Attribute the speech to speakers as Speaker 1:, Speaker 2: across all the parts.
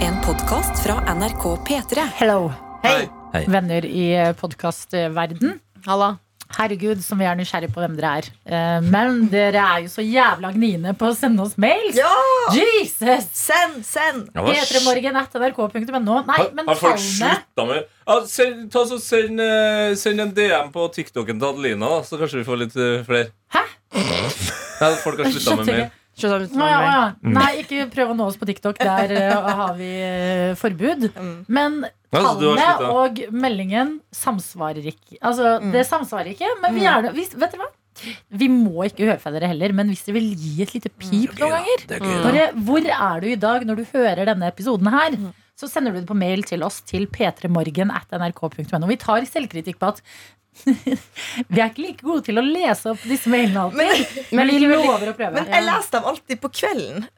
Speaker 1: En podkast fra NRK P3.
Speaker 2: Hello,
Speaker 3: Hei.
Speaker 4: Hei.
Speaker 2: venner i podkastverden.
Speaker 3: Halla.
Speaker 2: Herregud, som vi er nysgjerrig på hvem dere er. Eh, Men dere er jo så jævla gniende på å sende oss mails!
Speaker 3: Ja!
Speaker 2: Jesus!
Speaker 3: Send, send!
Speaker 4: Ja, hva
Speaker 2: P3 morgen at nrk.no. Nei,
Speaker 5: Har,
Speaker 2: men
Speaker 5: har folk
Speaker 2: tallene
Speaker 5: slutta med ja, send, ta så send, eh, send en DM på TikToken til Adelina, da, så kanskje vi får litt eh, flere.
Speaker 2: Hæ?
Speaker 5: Ja, folk har slutta med
Speaker 2: Skjønte
Speaker 5: mail.
Speaker 2: ikke.
Speaker 3: Slutt å lytte til
Speaker 2: Å, ja, å,
Speaker 3: meg.
Speaker 2: ja.
Speaker 5: Mm.
Speaker 2: Nei, ikke prøv å nå oss på TikTok. Der eh, har vi eh, forbud.
Speaker 3: Mm.
Speaker 2: Men
Speaker 5: Ja, så du har
Speaker 2: tallene
Speaker 5: sluttet.
Speaker 2: og meldingen samsvarer ikke. Altså,
Speaker 3: Mm.
Speaker 2: Det samsvarer ikke, men vi er det. Hvis, vet dere hva? Vi må ikke høfeilere heller, men hvis dere vil gi et lite
Speaker 3: Mm.
Speaker 2: pip noen ganger
Speaker 4: Det er gøy, da.
Speaker 2: Bare, hvor er du i dag når du hører denne episoden her?
Speaker 3: Mm.
Speaker 2: Så sender du det på mail til oss til p3morgen at nrk.no. Vi tar selvkritikk på at vi er ikke like gode til å lese opp disse mailene alltid.
Speaker 3: Men,
Speaker 2: Men vi lover å prøve.
Speaker 3: men jeg leser dem alltid på kvelden,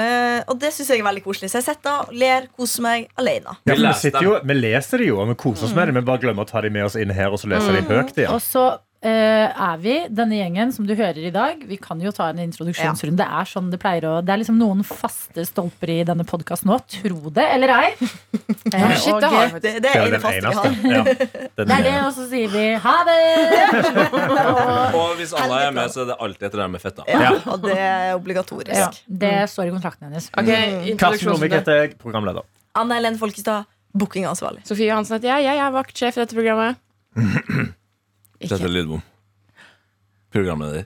Speaker 3: eh, og det syns jeg er veldig koselig. Så jeg sitter og ler, koser meg alene.
Speaker 5: Vi
Speaker 6: Ja, for vi,
Speaker 5: leser
Speaker 6: sitter
Speaker 5: dem.
Speaker 6: jo, vi leser det jo, og vi koser oss med det. Vi bare glemmer å ta de med oss inn her, og så leser de høyt
Speaker 2: Og
Speaker 6: igjen.
Speaker 2: så eh, er vi, denne gjengen som du hører i dag Vi kan jo ta en introduksjonsrunde. Det er sånn det pleier å Det er liksom noen faste stolper i denne podkasten nå. Tro det eller ei. Eh,
Speaker 3: Shit,
Speaker 2: og-
Speaker 3: det har jeg faktisk. Det, det
Speaker 6: Det
Speaker 3: er
Speaker 6: er
Speaker 3: det
Speaker 6: den
Speaker 3: faste jeg har.
Speaker 6: eneste. Ja, den
Speaker 2: det er det,
Speaker 6: ene.
Speaker 2: og så sier vi ha det!
Speaker 5: Og hvis Anna er med, så er det alltid etter det her med fetta.
Speaker 3: Ja, og det er obligatorisk.
Speaker 2: ja, det står i kontrakten hennes.
Speaker 3: Ok,
Speaker 7: Mm.
Speaker 6: Karsten Norvik
Speaker 3: introduksjonsrunde.
Speaker 6: heter jeg, programleder.
Speaker 3: Anna Helen Folkestad, bookingansvarlig.
Speaker 7: Sofie Hansen heter jeg. Jeg er vaktsjef i dette programmet.
Speaker 5: Dette er Lydbom. Programleder.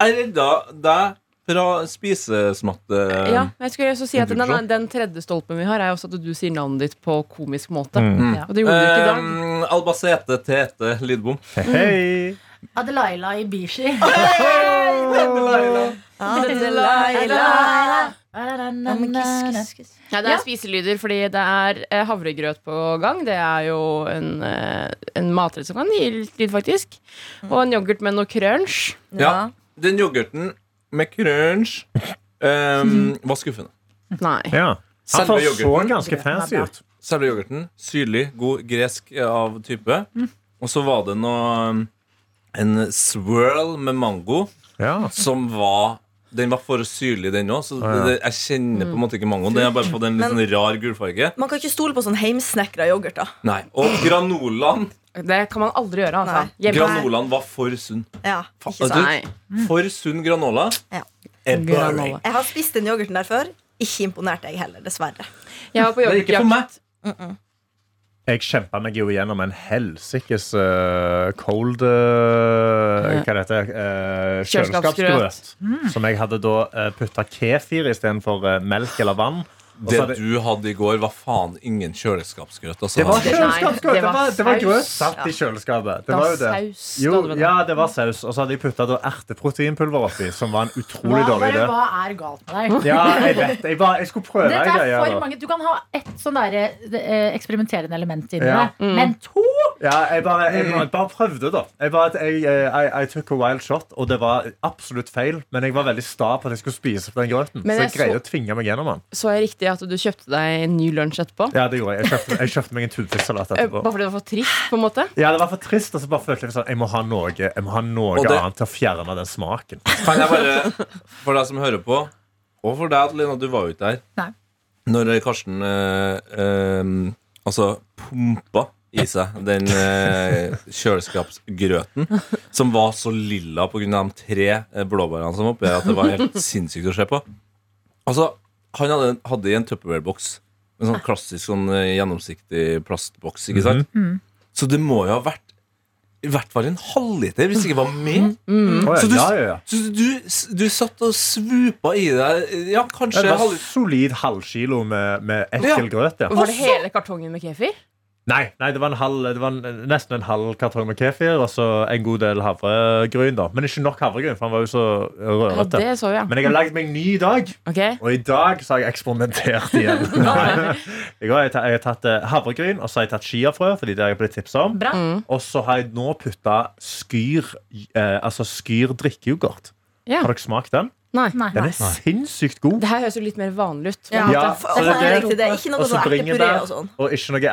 Speaker 5: Er det da deg fra spisesmatte...
Speaker 7: Ja, jeg skulle også si at den,
Speaker 5: Introduksjon.
Speaker 7: den tredje stolpen vi har, er også at du sier navnet ditt på komisk måte.
Speaker 6: Mm.
Speaker 7: Og det gjorde du ikke i dag.
Speaker 5: Eh, Albacete Tete Lydbom.
Speaker 6: Hei!
Speaker 2: Adelaila Ibishi.
Speaker 3: Ja, men kiss, kiss, kiss.
Speaker 7: Ja, det er spiselyder fordi det er eh, havregrøt på gang. Det er jo en, eh, en matrett som kan gi litt lyd, faktisk. Og en yoghurt med noe crunch.
Speaker 5: Ja. Den yoghurten med crunch eh, var skuffende.
Speaker 7: Nei.
Speaker 6: Ja. Han
Speaker 5: Selve
Speaker 6: så
Speaker 5: yoghurten.
Speaker 6: ganske fancy ut.
Speaker 5: Selve yoghurten, syrlig, god, gresk eh, av type.
Speaker 7: Mm.
Speaker 5: Og så var det noe ehm, En swirl med mango
Speaker 6: Ja.
Speaker 5: som var Den var for syrlig, den òg, så det, det, jeg kjenner
Speaker 7: Mm.
Speaker 5: på en måte ikke mangoen. Den har bare fått en litt sånn rar gulfarge.
Speaker 3: Man kan ikke stole på sånn heimsnekra yoghurt. da
Speaker 5: Nei, Og granolaen
Speaker 7: Det kan man aldri gjøre, altså. Hjemme-
Speaker 5: Granolaen var for sunn.
Speaker 3: ja, ikke
Speaker 5: Faen,
Speaker 3: sant?
Speaker 7: Nei. Mm.
Speaker 5: For sunn granola.
Speaker 3: Ja.
Speaker 5: er boring.
Speaker 7: Granola.
Speaker 3: Jeg har spist den yoghurten der før. Ikke imponert, jeg heller, dessverre.
Speaker 7: Jeg var på
Speaker 5: Det er ikke for
Speaker 7: yoghurtjakt.
Speaker 5: meg.
Speaker 6: Jeg kjempa meg jo gjennom en helsikes eh, cold eh, Hva det heter uh, Kjøleskapsgrøt. Som jeg hadde da uh, putta kefir istedenfor uh, melk eller vann. Og så
Speaker 5: Det
Speaker 6: hadde-
Speaker 5: du hadde i går, var faen ingen kjøleskapsgrøt. Altså.
Speaker 6: Det var
Speaker 7: Nei,
Speaker 6: kjøleskapsgrøt!
Speaker 7: det
Speaker 6: Det var, det var
Speaker 7: var
Speaker 6: grøt
Speaker 7: saus.
Speaker 6: satt i kjøleskapet. Det
Speaker 7: Da
Speaker 6: var jo det.
Speaker 7: saus, da
Speaker 6: Jo,
Speaker 7: hadde vi det.
Speaker 6: ja, det var saus. Og så hadde jeg putta erteproteinpulver oppi, som var en utrolig
Speaker 2: Hva,
Speaker 6: dårlig idé.
Speaker 2: hva er galt med deg?
Speaker 6: Ja, jeg vet. Jeg, bare, jeg skulle prøve
Speaker 2: Dette er
Speaker 6: en greie,
Speaker 2: for
Speaker 6: da.
Speaker 2: mange Du kan ha ett sånn der, eh, eksperimenterende element inni
Speaker 6: Ja.
Speaker 2: deg, men to
Speaker 6: Ja, jeg bare, jeg, bare- bare prøvde, da. Jeg, bare, jeg, jeg, jeg took a wild shot, og det var absolutt feil. Men jeg var veldig sta på at jeg skulle spise på den grøten.
Speaker 7: Men
Speaker 6: Så jeg
Speaker 7: jeg
Speaker 6: greide
Speaker 7: så-
Speaker 6: å tvinge meg gjennom den.
Speaker 7: Så er det riktig at du kjøpte deg en ny lunsj etterpå?
Speaker 6: Ja, det gjorde jeg. Jeg kjøpte, jeg kjøpte meg en tunfisksalat
Speaker 7: Eh, Bare
Speaker 6: etterpå.
Speaker 7: fordi det var for trist, på en måte?
Speaker 6: Ja, det var for trist, og så bare følte jeg sånn Jeg må ha noe, jeg må ha noe
Speaker 5: Og det-
Speaker 6: annet til å fjerne den smaken.
Speaker 5: Kan jeg bare, for deg som hører på, og for deg, Adelina, du var jo ikke der.
Speaker 2: Nei.
Speaker 5: Når Karsten eh, eh, altså pumpa i seg den eh, kjøleskapsgrøten som var så lilla pga. de tre eh, blåbærene som var oppi her, at det var helt sinnssykt å se på. Altså, han hadde, hadde i en Tupperware-boks. En sånn klassisk sånn eh, gjennomsiktig plastboks, ikke sant? Så det må jo ha vært i hvert fall en halvliter, hvis ikke det var mer.
Speaker 6: Å,
Speaker 5: Så du-
Speaker 6: ja, ja, ja.
Speaker 5: Så du, du satt og svupa i deg Ja, kanskje
Speaker 6: Det var
Speaker 5: halv...
Speaker 6: solid halvkilo med, med ekkel
Speaker 5: Ja.
Speaker 6: grøt. Ja.
Speaker 7: Var det hele kartongen med kefir?
Speaker 6: Nei, nei det var, en halv, det var en, nesten en halv kartong med kefir og så en god del havregryn. da Men ikke nok havregryn, for han var jo så
Speaker 7: Ja,
Speaker 6: rørete.
Speaker 7: det så jeg.
Speaker 6: Men jeg har lagd meg en ny i dag,
Speaker 7: Ok
Speaker 6: og i dag så har jeg eksperimentert igjen. I går har jeg, ta, jeg har tatt eh, havregryn og så har jeg tatt chiafrø, Fordi det har jeg blitt tipset om.
Speaker 2: Bra.
Speaker 6: Og så har jeg nå putta skyr eh, Altså skyr drikkeyoghurt.
Speaker 7: Ja.
Speaker 6: Har dere smakt den?
Speaker 7: Nei.
Speaker 2: Nei.
Speaker 6: Den er sinnssykt god.
Speaker 7: Det her høres jo litt mer vanlig ut.
Speaker 3: Ja,
Speaker 6: Ja,
Speaker 3: for-
Speaker 6: så det er
Speaker 3: riktig, det er ikke noe
Speaker 6: Og så
Speaker 3: sånn
Speaker 6: bringebær
Speaker 3: ertepuré og sånn.
Speaker 6: og ikke noe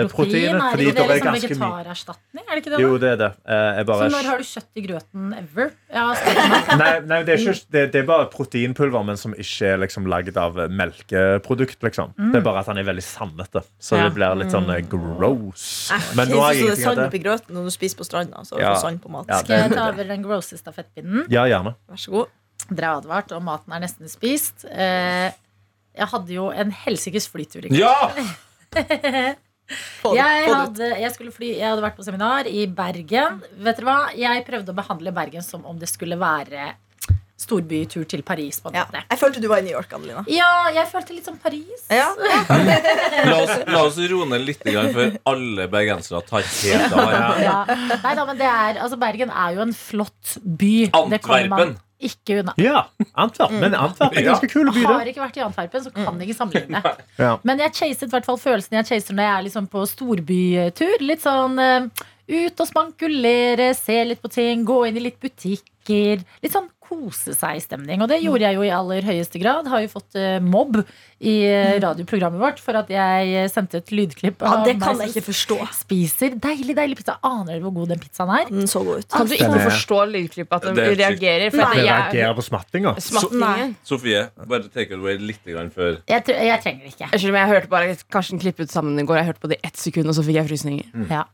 Speaker 2: er
Speaker 6: eh, Fordi
Speaker 2: ikke
Speaker 6: det
Speaker 2: det
Speaker 6: er
Speaker 2: liksom
Speaker 6: ganske mye
Speaker 2: vegetarerstatning? Er det ikke det?
Speaker 6: Jo,
Speaker 2: da?
Speaker 6: det er det. Eh, Jeg
Speaker 2: Så
Speaker 6: bare
Speaker 2: når har du kjøtt i grøten ever? Ja, spør meg.
Speaker 6: Nei, nei det, er ikke, det, det er bare proteinpulver, men som ikke er liksom lagd av melkeprodukt. Liksom. Det er bare at han er veldig sandete, så
Speaker 2: Ja.
Speaker 6: det blir litt sånn eh, gross.
Speaker 3: Æsj,
Speaker 6: Men nå har
Speaker 3: jeg synes det er
Speaker 6: jeg ingenting
Speaker 3: sand
Speaker 6: av det.
Speaker 3: oppi grøten når du spiser på stranda. Så
Speaker 6: Ja.
Speaker 3: får sand på mat.
Speaker 6: Ja,
Speaker 2: Skal jeg ta over den grosse stafettpinnen?
Speaker 6: Ja, gjerne.
Speaker 3: Vær så god.
Speaker 2: Dere er advart, og maten er nesten spist. Eh, jeg hadde jo en helsikes flytur i går.
Speaker 5: Ja!
Speaker 3: Få det-
Speaker 2: Jeg
Speaker 3: få det ut.
Speaker 2: hadde, jeg, skulle fly, jeg hadde vært på seminar i Bergen. Vet dere hva? Jeg prøvde å behandle Bergen som om det skulle være storbytur til Paris. på en
Speaker 3: Ja.
Speaker 2: måte.
Speaker 3: Jeg følte du var i New York, Adelina.
Speaker 2: Ja, jeg følte litt sånn Paris.
Speaker 3: Ja.
Speaker 5: La oss, la oss roe ned litt grann før alle bergensere tar helt av. her.
Speaker 2: Ja. Nei da, men det er, altså Bergen er jo en flott by. Det kommer man
Speaker 5: Antwerpen.
Speaker 2: ikke unna.
Speaker 6: Ja, Antwerp. Men Antwerp er en ganske kul by,
Speaker 2: Har
Speaker 6: det.
Speaker 2: ikke vært i Antwerpen, så
Speaker 3: Mm.
Speaker 2: kan jeg ikke sammenligne.
Speaker 6: Ja.
Speaker 2: Men jeg chaset i hvert fall følelsen jeg chaser når jeg er liksom på storbytur. Litt sånn eh, ut og spankulere, se litt på ting, gå inn i litt butikker. Litt sånn kose seg-stemning. Og det gjorde jeg jo i aller høyeste grad. Har jo fått eh, mobb i eh, radioprogrammet vårt for at jeg eh, sendte et lydklipp
Speaker 3: Mm. Ja,
Speaker 2: av
Speaker 3: det kan
Speaker 2: meg
Speaker 3: jeg ikke
Speaker 2: som
Speaker 3: forstå.
Speaker 2: spiser deilig, deilig pizza. Aner dere hvor god den pizzaen er?
Speaker 3: Den så god ut.
Speaker 2: Ah,
Speaker 7: Kan du
Speaker 6: Den
Speaker 7: ikke
Speaker 6: er-
Speaker 7: forstå lydklippet at de
Speaker 5: Det er sykt.
Speaker 7: reagerer? For
Speaker 3: Nei.
Speaker 6: Det
Speaker 7: at jeg,
Speaker 6: reagerer på smattinga.
Speaker 7: smattingen.
Speaker 5: Sofie, bare take it away litt grann før.
Speaker 2: Jeg, tr- jeg trenger det ikke.
Speaker 7: Unnskyld, men jeg hørte bare Karsten klippe ut sammen i går. Jeg hørte på det i ett sekund, og så fikk jeg frysninger.
Speaker 2: Ja.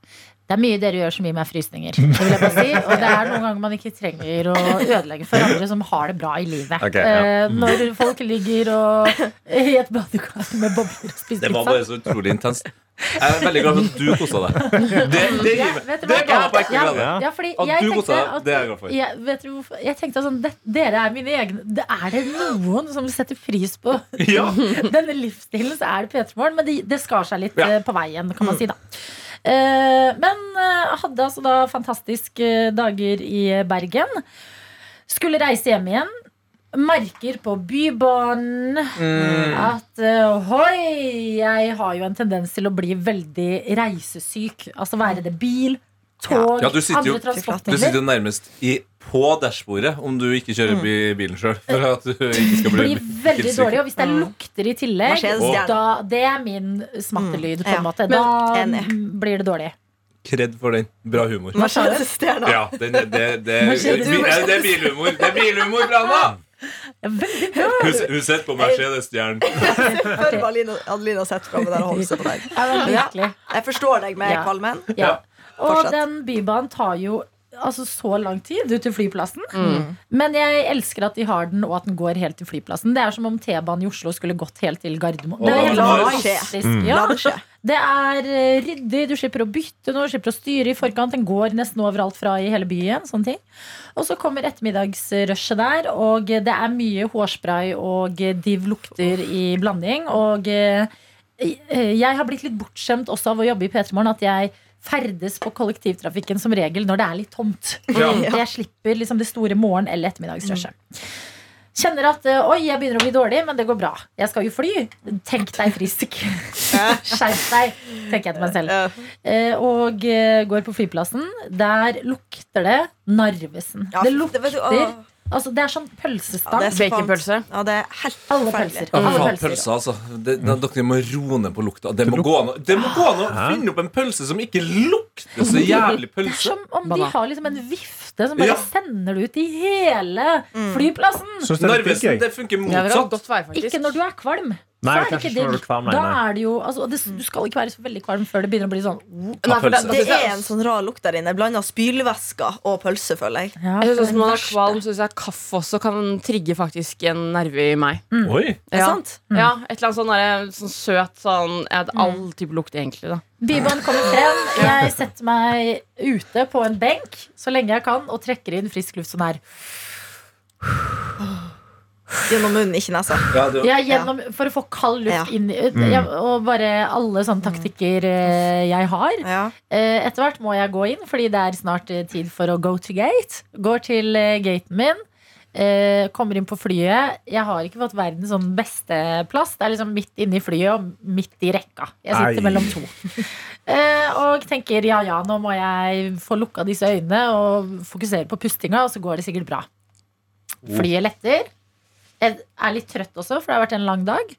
Speaker 2: Det er mye dere gjør som gir meg frysninger. Det vil jeg bare si. Og det er noen ganger man ikke trenger å ødelegge for andre som har det bra i livet.
Speaker 6: Ok, ja.
Speaker 2: Eh, Når folk ligger og i et badekar med bobler og spiser
Speaker 5: Det var
Speaker 2: pizza.
Speaker 5: bare så utrolig intenst. Jeg er veldig glad for at du kosa deg. Det, det gir meg
Speaker 2: Vet dere
Speaker 5: Det
Speaker 2: hva?
Speaker 5: kan jeg på ekte
Speaker 2: Ja,
Speaker 5: glede.
Speaker 2: ja, fordi
Speaker 5: At
Speaker 2: jeg
Speaker 5: du
Speaker 2: tenkte
Speaker 5: koser deg,
Speaker 2: at-
Speaker 5: det er jeg glad for.
Speaker 2: Jeg, vet du hvorfor? jeg tenkte sånn, det, Dere er mine egne det, Er det noen som setter pris på
Speaker 5: Ja.
Speaker 2: denne livsstilen, så er det P3 Morgen. Men det, det skar seg litt
Speaker 5: Ja. Mm.
Speaker 2: eh, på veien, kan man si, da. Eh, men eh, hadde altså da fantastiske dager i eh, Bergen. Skulle reise hjem igjen. Merker på Bybanen
Speaker 5: Mm.
Speaker 2: at eh, hoi, jeg har jo en tendens til å bli veldig reisesyk. Altså være det bil, tog,
Speaker 5: Ja, du sitter jo-
Speaker 2: andre
Speaker 5: Du sitter
Speaker 2: transportmidler.
Speaker 5: jo nærmest i, på dashbordet om du ikke kjører bi- bilen sjøl. For at du ikke skal bli
Speaker 2: Mm. Blir veldig
Speaker 5: bilsyk.
Speaker 2: dårlig. Og hvis det
Speaker 3: Mm.
Speaker 2: lukter i tillegg,
Speaker 3: Mercedes-stjerne.
Speaker 2: da, det er min smattelyd, på
Speaker 3: Mm. Ja.
Speaker 2: en måte.
Speaker 3: Men-
Speaker 2: Da
Speaker 3: Enig.
Speaker 2: mm, blir det dårlig.
Speaker 5: Kred for den. Bra humor.
Speaker 3: Mercedes-stjerna.
Speaker 5: Ja, den, det, det, det,
Speaker 2: Mercedes-
Speaker 5: bi- det er bilhumor. Det er bilhumor fra Anna!
Speaker 2: Veldig
Speaker 5: Hun, hun sitter på Mercedes-stjernen.
Speaker 3: Før var Adelina, Adelina sett framme der og holdt seg på deg.
Speaker 2: Virkelig.
Speaker 3: Jeg forstår deg med
Speaker 2: Ja.
Speaker 3: kvalmen.
Speaker 2: Ja. Og
Speaker 3: Fortsett.
Speaker 2: den bybanen tar jo altså, så lang tid ut til flyplassen. Men jeg elsker at de har den, og at den går helt til flyplassen. Det er som om T-banen i Oslo skulle gått helt til Gardermoen. Det er helt
Speaker 5: la det
Speaker 3: skje.
Speaker 2: fantastisk.
Speaker 3: La
Speaker 2: Ja.
Speaker 3: det skje.
Speaker 2: Det er eh, ryddig, du slipper å bytte noe, du slipper å styre i forkant. Den går nesten overalt fra i hele byen. sånne ting. Og så kommer ettermiddagsrushet der, og eh, det er mye hårspray og eh, div lukter i blanding. Og eh, eh, jeg har blitt litt bortskjemt også av å jobbe i P3 Morgen at jeg ferdes på kollektivtrafikken som regel når det er litt tomt.
Speaker 5: Ja.
Speaker 2: Jeg slipper liksom det store morgen- eller ettermiddagsrushet. Kjenner at eh, oi, jeg begynner å bli dårlig, men det går bra. Jeg skal jo fly. Tenk deg frisk. Skjerp deg, tenker jeg til meg selv.
Speaker 3: Ja.
Speaker 2: Eh, og eh, går på flyplassen. Der lukter det Narvesen.
Speaker 3: Ja,
Speaker 2: det
Speaker 3: det
Speaker 2: lukter
Speaker 3: vet du- åh.
Speaker 2: Altså, det er sånn pølsestang.
Speaker 3: Ja, det er så kvalmt.
Speaker 7: Baconpølse.
Speaker 3: Ja, det er helt
Speaker 2: Alle
Speaker 3: forferdelig.
Speaker 2: pølser.
Speaker 5: Ja,
Speaker 2: Alle
Speaker 5: faen,
Speaker 2: pølser.
Speaker 5: pølser, altså. Det, det, dere må roe ned på lukta. Det må, gå an, å- det må gå an å finne opp en pølse som ikke lukter så jævlig
Speaker 2: Det er
Speaker 5: pølse.
Speaker 2: som om de
Speaker 7: Banan.
Speaker 2: har liksom en vifte som bare
Speaker 5: Ja.
Speaker 2: sender det ut i hele
Speaker 3: Mm.
Speaker 2: flyplassen.
Speaker 6: Syns det er litt
Speaker 5: Narvesen,
Speaker 6: gøy.
Speaker 5: det funker
Speaker 7: Ja, det kan
Speaker 5: motsatt.
Speaker 7: godt være, faktisk.
Speaker 2: Ikke når du er kvalm.
Speaker 6: Nei,
Speaker 2: Så er det
Speaker 6: kanskje
Speaker 2: ikke
Speaker 6: når du er
Speaker 2: digg.
Speaker 6: kvalm, nei,
Speaker 2: Da
Speaker 6: nei.
Speaker 2: er det jo altså, det, Du skal ikke være så veldig kvalm før det begynner å bli sånn
Speaker 7: Nei, for da- da
Speaker 5: Det
Speaker 3: Det
Speaker 7: synes jeg-
Speaker 3: er en sånn rar lukt der inne. Blanda spylvæsker og pølse, føler jeg.
Speaker 2: ja, det
Speaker 7: Jeg synes
Speaker 2: er
Speaker 7: også Når man er
Speaker 2: verste.
Speaker 7: kvalm, så synes jeg kaffe også kan trigge faktisk en nerve i meg.
Speaker 5: Oi.
Speaker 3: Er det
Speaker 7: Ja.
Speaker 3: sant? Mm.
Speaker 7: Ja, Et eller annet sånn, der, sånn søt sånn ja, det er All type lukt, egentlig. da
Speaker 3: Ah.
Speaker 2: Bybanen kommer frem. Jeg setter meg ute på en benk så lenge jeg kan, og trekker inn frisk luft sånn her.
Speaker 3: Gjennom munnen, ikke nesa.
Speaker 5: Ja, det,
Speaker 2: Jeg gjennom, for å få kald
Speaker 3: Ja.
Speaker 2: luft inn i ut- jeg, Og bare alle sånne taktikker eh, jeg har.
Speaker 3: Ja.
Speaker 2: Eh, Etter hvert må jeg gå inn, fordi det er snart eh, tid for å go to gate. Går til eh, gaten min. eh, kommer inn på flyet. Jeg har ikke fått verdens sånn beste plass. Det er liksom midt inne i flyet og midt i rekka. Jeg sitter
Speaker 6: Ei.
Speaker 2: mellom to. Eh, og tenker ja ja, nå må jeg få lukka disse øynene og fokusere på pustinga, og så går det sikkert bra. Flyet letter. Jeg er litt trøtt også, for det har vært en lang dag.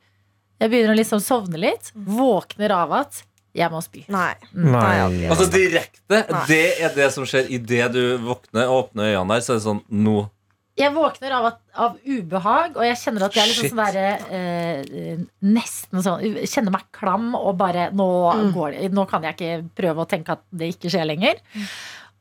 Speaker 2: Jeg begynner å liksom sovne litt. Våkner av at jeg må spy.
Speaker 3: Nei.
Speaker 6: Nei.
Speaker 5: Altså direkte.
Speaker 3: Nei.
Speaker 5: Det er det som skjer idet du våkner og åpner øynene der. Så er det sånn Nå.
Speaker 2: Jeg våkner av, at, av ubehag, og jeg kjenner at jeg er liksom
Speaker 5: Shit.
Speaker 2: sånn derre eh, Nesten sånn jeg Kjenner meg klam og bare nå,
Speaker 5: Mm.
Speaker 2: går det, nå kan jeg ikke prøve å tenke at det ikke skjer lenger.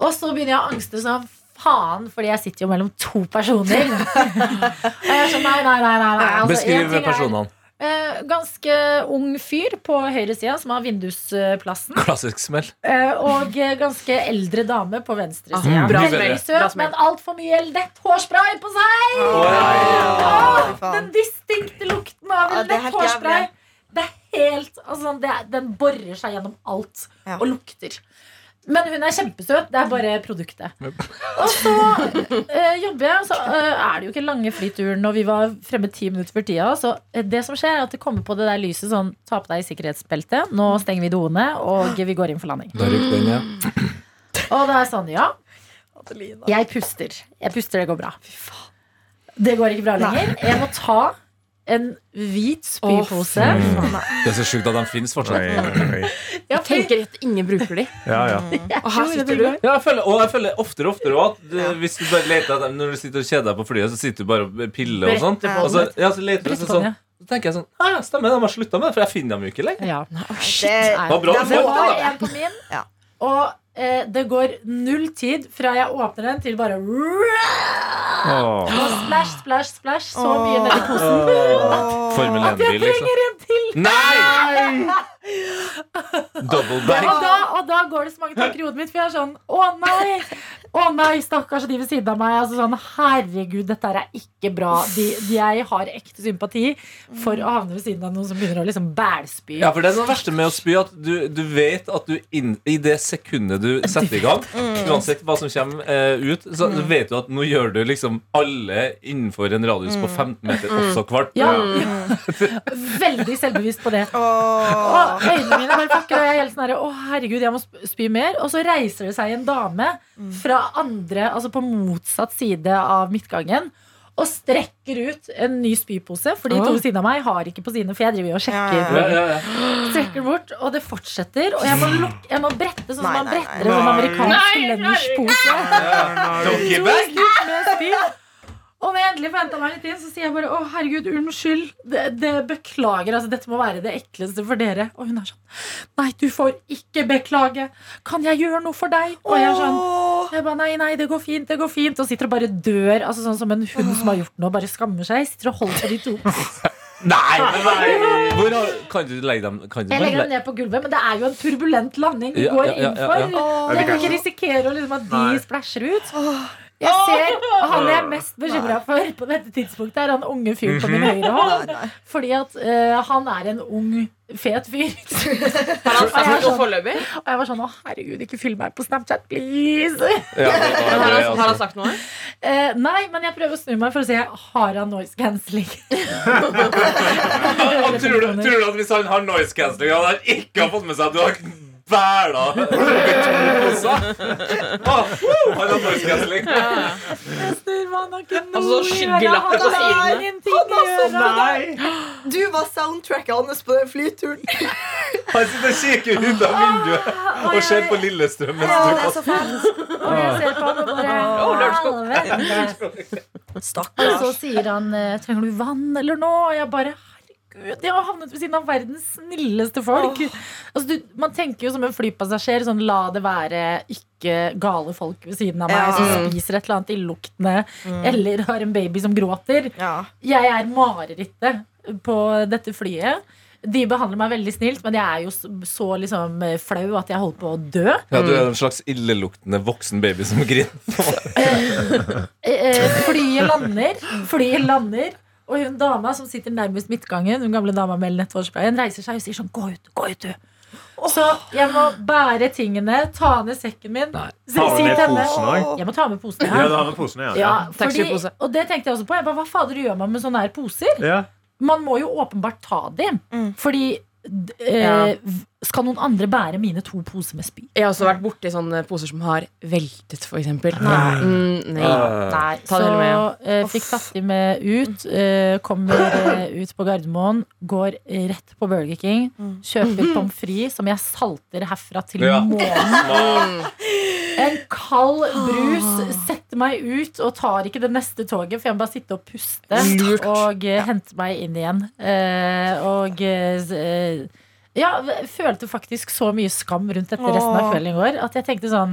Speaker 2: Og så begynner jeg å angste sånn faen, fordi jeg sitter jo mellom to personer. og jeg er sånn nei, nei, nei. nei, nei. Altså, en
Speaker 5: Beskriv
Speaker 2: ting er-
Speaker 5: personene.
Speaker 2: Eh, ganske ung fyr på høyresida som har vindusplassen.
Speaker 5: Klassisk smell.
Speaker 2: Eh, og eh, ganske eldre dame på venstresida.
Speaker 5: Ah, bra smell.
Speaker 2: Veldig
Speaker 7: Altså, Bra
Speaker 2: søt,
Speaker 7: smell.
Speaker 2: men altfor mye lett hårspray på seg!
Speaker 3: Åh, fy
Speaker 2: Åh, Ah, den
Speaker 3: faen.
Speaker 2: distinkte lukten av
Speaker 3: Ja,
Speaker 2: en
Speaker 3: det er
Speaker 2: lett
Speaker 3: helt
Speaker 2: hårspray.
Speaker 3: jævlig.
Speaker 2: Det er helt, altså, det er, Den borer seg gjennom alt
Speaker 3: Ja.
Speaker 2: og lukter. Men hun er kjempesøt. Det er bare produktet. Og så eh, jobber jeg, og så eh, er det jo ikke lange flyturen. Og vi var fremme ti minutter før tida. Så eh, det som skjer, er at det kommer på det der lyset sånn Ta på deg sikkerhetsbeltet. Nå stenger vi doene, og vi går inn for landing.
Speaker 5: Da rykker den, ja.
Speaker 2: Og det er sånn, ja.
Speaker 3: Adelina.
Speaker 2: Jeg puster. Jeg puster, det går bra. Det går ikke bra lenger. Jeg må ta en hvit spypose.
Speaker 5: Det er så sjukt at de finnes fortsatt.
Speaker 6: Oi, oi.
Speaker 2: Ja,
Speaker 7: Jeg tenker at ingen bruker de.
Speaker 6: Ja, ja.
Speaker 7: Og her sitter du.
Speaker 5: Ja, jeg føler, og jeg føler oftere og oftere også at det, hvis du bare leter etter Når du sitter og kjeder deg på flyet, så sitter du bare og piller og sånt.
Speaker 2: Bretter på
Speaker 5: Og så, ja, så leter du
Speaker 2: Brett
Speaker 5: så
Speaker 2: på
Speaker 5: sånn.
Speaker 2: den,
Speaker 5: Så tenker jeg sånn Ja, ja, stemmer, de har slutta med det, for jeg finner dem jo ikke lenger.
Speaker 2: ja.
Speaker 3: Det-
Speaker 2: Nei.
Speaker 5: Det var bra du
Speaker 2: Det
Speaker 5: fant
Speaker 2: var
Speaker 5: det, da.
Speaker 2: en på min,
Speaker 3: Ja.
Speaker 2: og eh, det går null tid fra jeg åpner den til bare
Speaker 6: Åh.
Speaker 2: og splash, splash, splash, så mye nedi posen.
Speaker 5: Formel
Speaker 2: At jeg
Speaker 5: 1-bil, liksom.
Speaker 2: trenger en til!
Speaker 5: Nei! Double back.
Speaker 2: Og da, og da går det så mange tanker i hodet mitt, for jeg er sånn Å nei! Å nei, stakkars de ved siden av meg. Altså sånn, Herregud, dette her er ikke bra. De, de jeg har ekte sympati for å havne ved siden av noen som begynner å liksom bælspy.
Speaker 5: Ja, for det er det verste med å spy at du, du vet at du inn, i det sekundet du setter i gang,
Speaker 2: Mm.
Speaker 5: uansett hva som kommer eh, ut, så vet du at nå gjør du liksom alle innenfor en radius på 15 meter også kvalp.
Speaker 2: Mm. Ja. Veldig selvbevisst på det. Og øynene mine bare fucker, og jeg er helt sånn her, Å, herregud, jeg må sp- spy mer. Og så reiser det seg en dame
Speaker 3: Mm.
Speaker 2: fra andre, altså på motsatt side av midtgangen. Og strekker ut en ny spypose, for de to ved siden av meg har ikke på sine. For jeg driver jo og sjekker.
Speaker 3: Ja,
Speaker 5: Ja, ja, ja.
Speaker 2: Strekker den bort, og det fortsetter. Og jeg må, lukke, jeg må brette sånn som
Speaker 3: Nei,
Speaker 2: man
Speaker 3: nei, nei.
Speaker 2: bretter en sånn amerikansk
Speaker 7: Nei, nei.
Speaker 2: lunsjpose.
Speaker 5: Don't give back.
Speaker 2: Og når jeg endelig får hentet meg litt inn, så sier jeg bare Å, herregud, unnskyld. Det, det Beklager. altså Dette må være det ekleste for dere. Og hun er sånn Nei, du får ikke beklage. Kan jeg gjøre noe for deg? Og jeg er sånn jeg bare, nei, nei, det går fint, det går fint Og sitter og bare dør, altså sånn som en hund som har gjort noe Bare skammer seg, sitter og holder på de to
Speaker 5: Nei! nei. Hvor har, kan du legge dem kan
Speaker 2: Jeg
Speaker 5: du bare
Speaker 2: legger dem
Speaker 5: legge-
Speaker 2: ned på gulvet, men det er jo en turbulent landing Vi
Speaker 5: Ja,
Speaker 2: går
Speaker 5: ja, ja,
Speaker 2: inn
Speaker 5: ja,
Speaker 2: for
Speaker 5: ja.
Speaker 2: Jeg vil ikke risikere å liksom, at
Speaker 6: Nei.
Speaker 2: de splasjer ut Jeg ser han jeg er mest bekymret for På dette tidspunktet er han unge fyr på min
Speaker 5: Mhm.
Speaker 2: høyre hånd Fordi at eh, han er en ung, fet fyr
Speaker 7: altså, Har
Speaker 2: jeg
Speaker 7: han
Speaker 2: er
Speaker 7: sagt noe
Speaker 2: sånn-
Speaker 7: foreløpig?
Speaker 2: Og jeg var sånn, å herregud, ikke fyll meg på Snapchat, please
Speaker 5: Ja, det var
Speaker 7: Har
Speaker 5: det,
Speaker 7: han, har han
Speaker 5: altså.
Speaker 7: sagt noe?
Speaker 2: Eh, nei, men jeg prøver å snu meg for å se Har han noise cancelling?
Speaker 5: Og Tror du, tror du at hvis han har noise cancelling og han ikke har fått med seg at du har bæla ah, woo, Han har noise cancelling.
Speaker 7: Altså, så skyggelapp på sidene.
Speaker 6: Nei!
Speaker 3: Du var soundtracket hans på den flyturen.
Speaker 5: Han sitter og kikker ut av vinduet og ser på Lillestrøm mens
Speaker 3: Ja,
Speaker 5: du
Speaker 3: det er
Speaker 5: kaster
Speaker 3: så fælt.
Speaker 2: Og jeg ser på han og bare Helvete. Og så
Speaker 3: Stakkars.
Speaker 2: sier han eh, Trenger du vann eller noe? Og jeg bare Herregud, jeg har havnet ved siden av verdens snilleste folk. Altså, du, man tenker jo som en flypassasjer sånn la det være ikke gale folk ved siden av meg
Speaker 3: Ja.
Speaker 2: som spiser et eller annet illuktende eller har en baby som gråter.
Speaker 3: Ja.
Speaker 2: Jeg er marerittet på dette flyet. De behandler meg veldig snilt, men jeg er jo så, så liksom eh, flau at jeg holder på å dø.
Speaker 5: Ja, du er en slags illeluktende voksen baby som griner.
Speaker 2: Eh, eh, Flyet lander, flyet lander, og hun dama som sitter nærmest midtgangen, hun gamle dama med lett hårspray, hun reiser seg og sier sånn Gå ut, gå ut, du. Så jeg må bære tingene, ta ned sekken min. Så
Speaker 6: Har
Speaker 2: jeg sier
Speaker 6: du med
Speaker 2: til henne,
Speaker 6: posen òg?
Speaker 2: Jeg må ta med posen.
Speaker 6: Ja,
Speaker 2: her.
Speaker 6: du har med posen, ja.
Speaker 2: Ja, fordi,
Speaker 7: Taxipose.
Speaker 2: og det tenkte jeg også på. Jeg bare, Hva fader gjør man med sånne her poser?
Speaker 6: Ja.
Speaker 2: Man må jo åpenbart ta dem. Fordi d- eh,
Speaker 7: Ja.
Speaker 2: v- Skal noen andre bære mine to poser med spy?
Speaker 7: Jeg har også vært borti sånne poser som har veltet, for eksempel.
Speaker 2: Nei.
Speaker 7: Mm, nei.
Speaker 5: Ah.
Speaker 2: Nei,
Speaker 7: Ta
Speaker 2: så
Speaker 7: dere med.
Speaker 2: eh, fikk Fattig med ut. eh, kommer eh, ut på Gardermoen, går rett på Burger King, kjøper pommes frites som jeg salter herfra til
Speaker 5: Ja.
Speaker 2: månen.
Speaker 5: Smart.
Speaker 2: En kald brus, setter meg ut og tar ikke det neste toget, for jeg må bare sitte og puste og eh, hente meg inn igjen. Eh, og eh, s- eh, ja, v- følte faktisk så mye skam rundt dette resten av
Speaker 3: Åh.
Speaker 2: kvelden i går at jeg tenkte sånn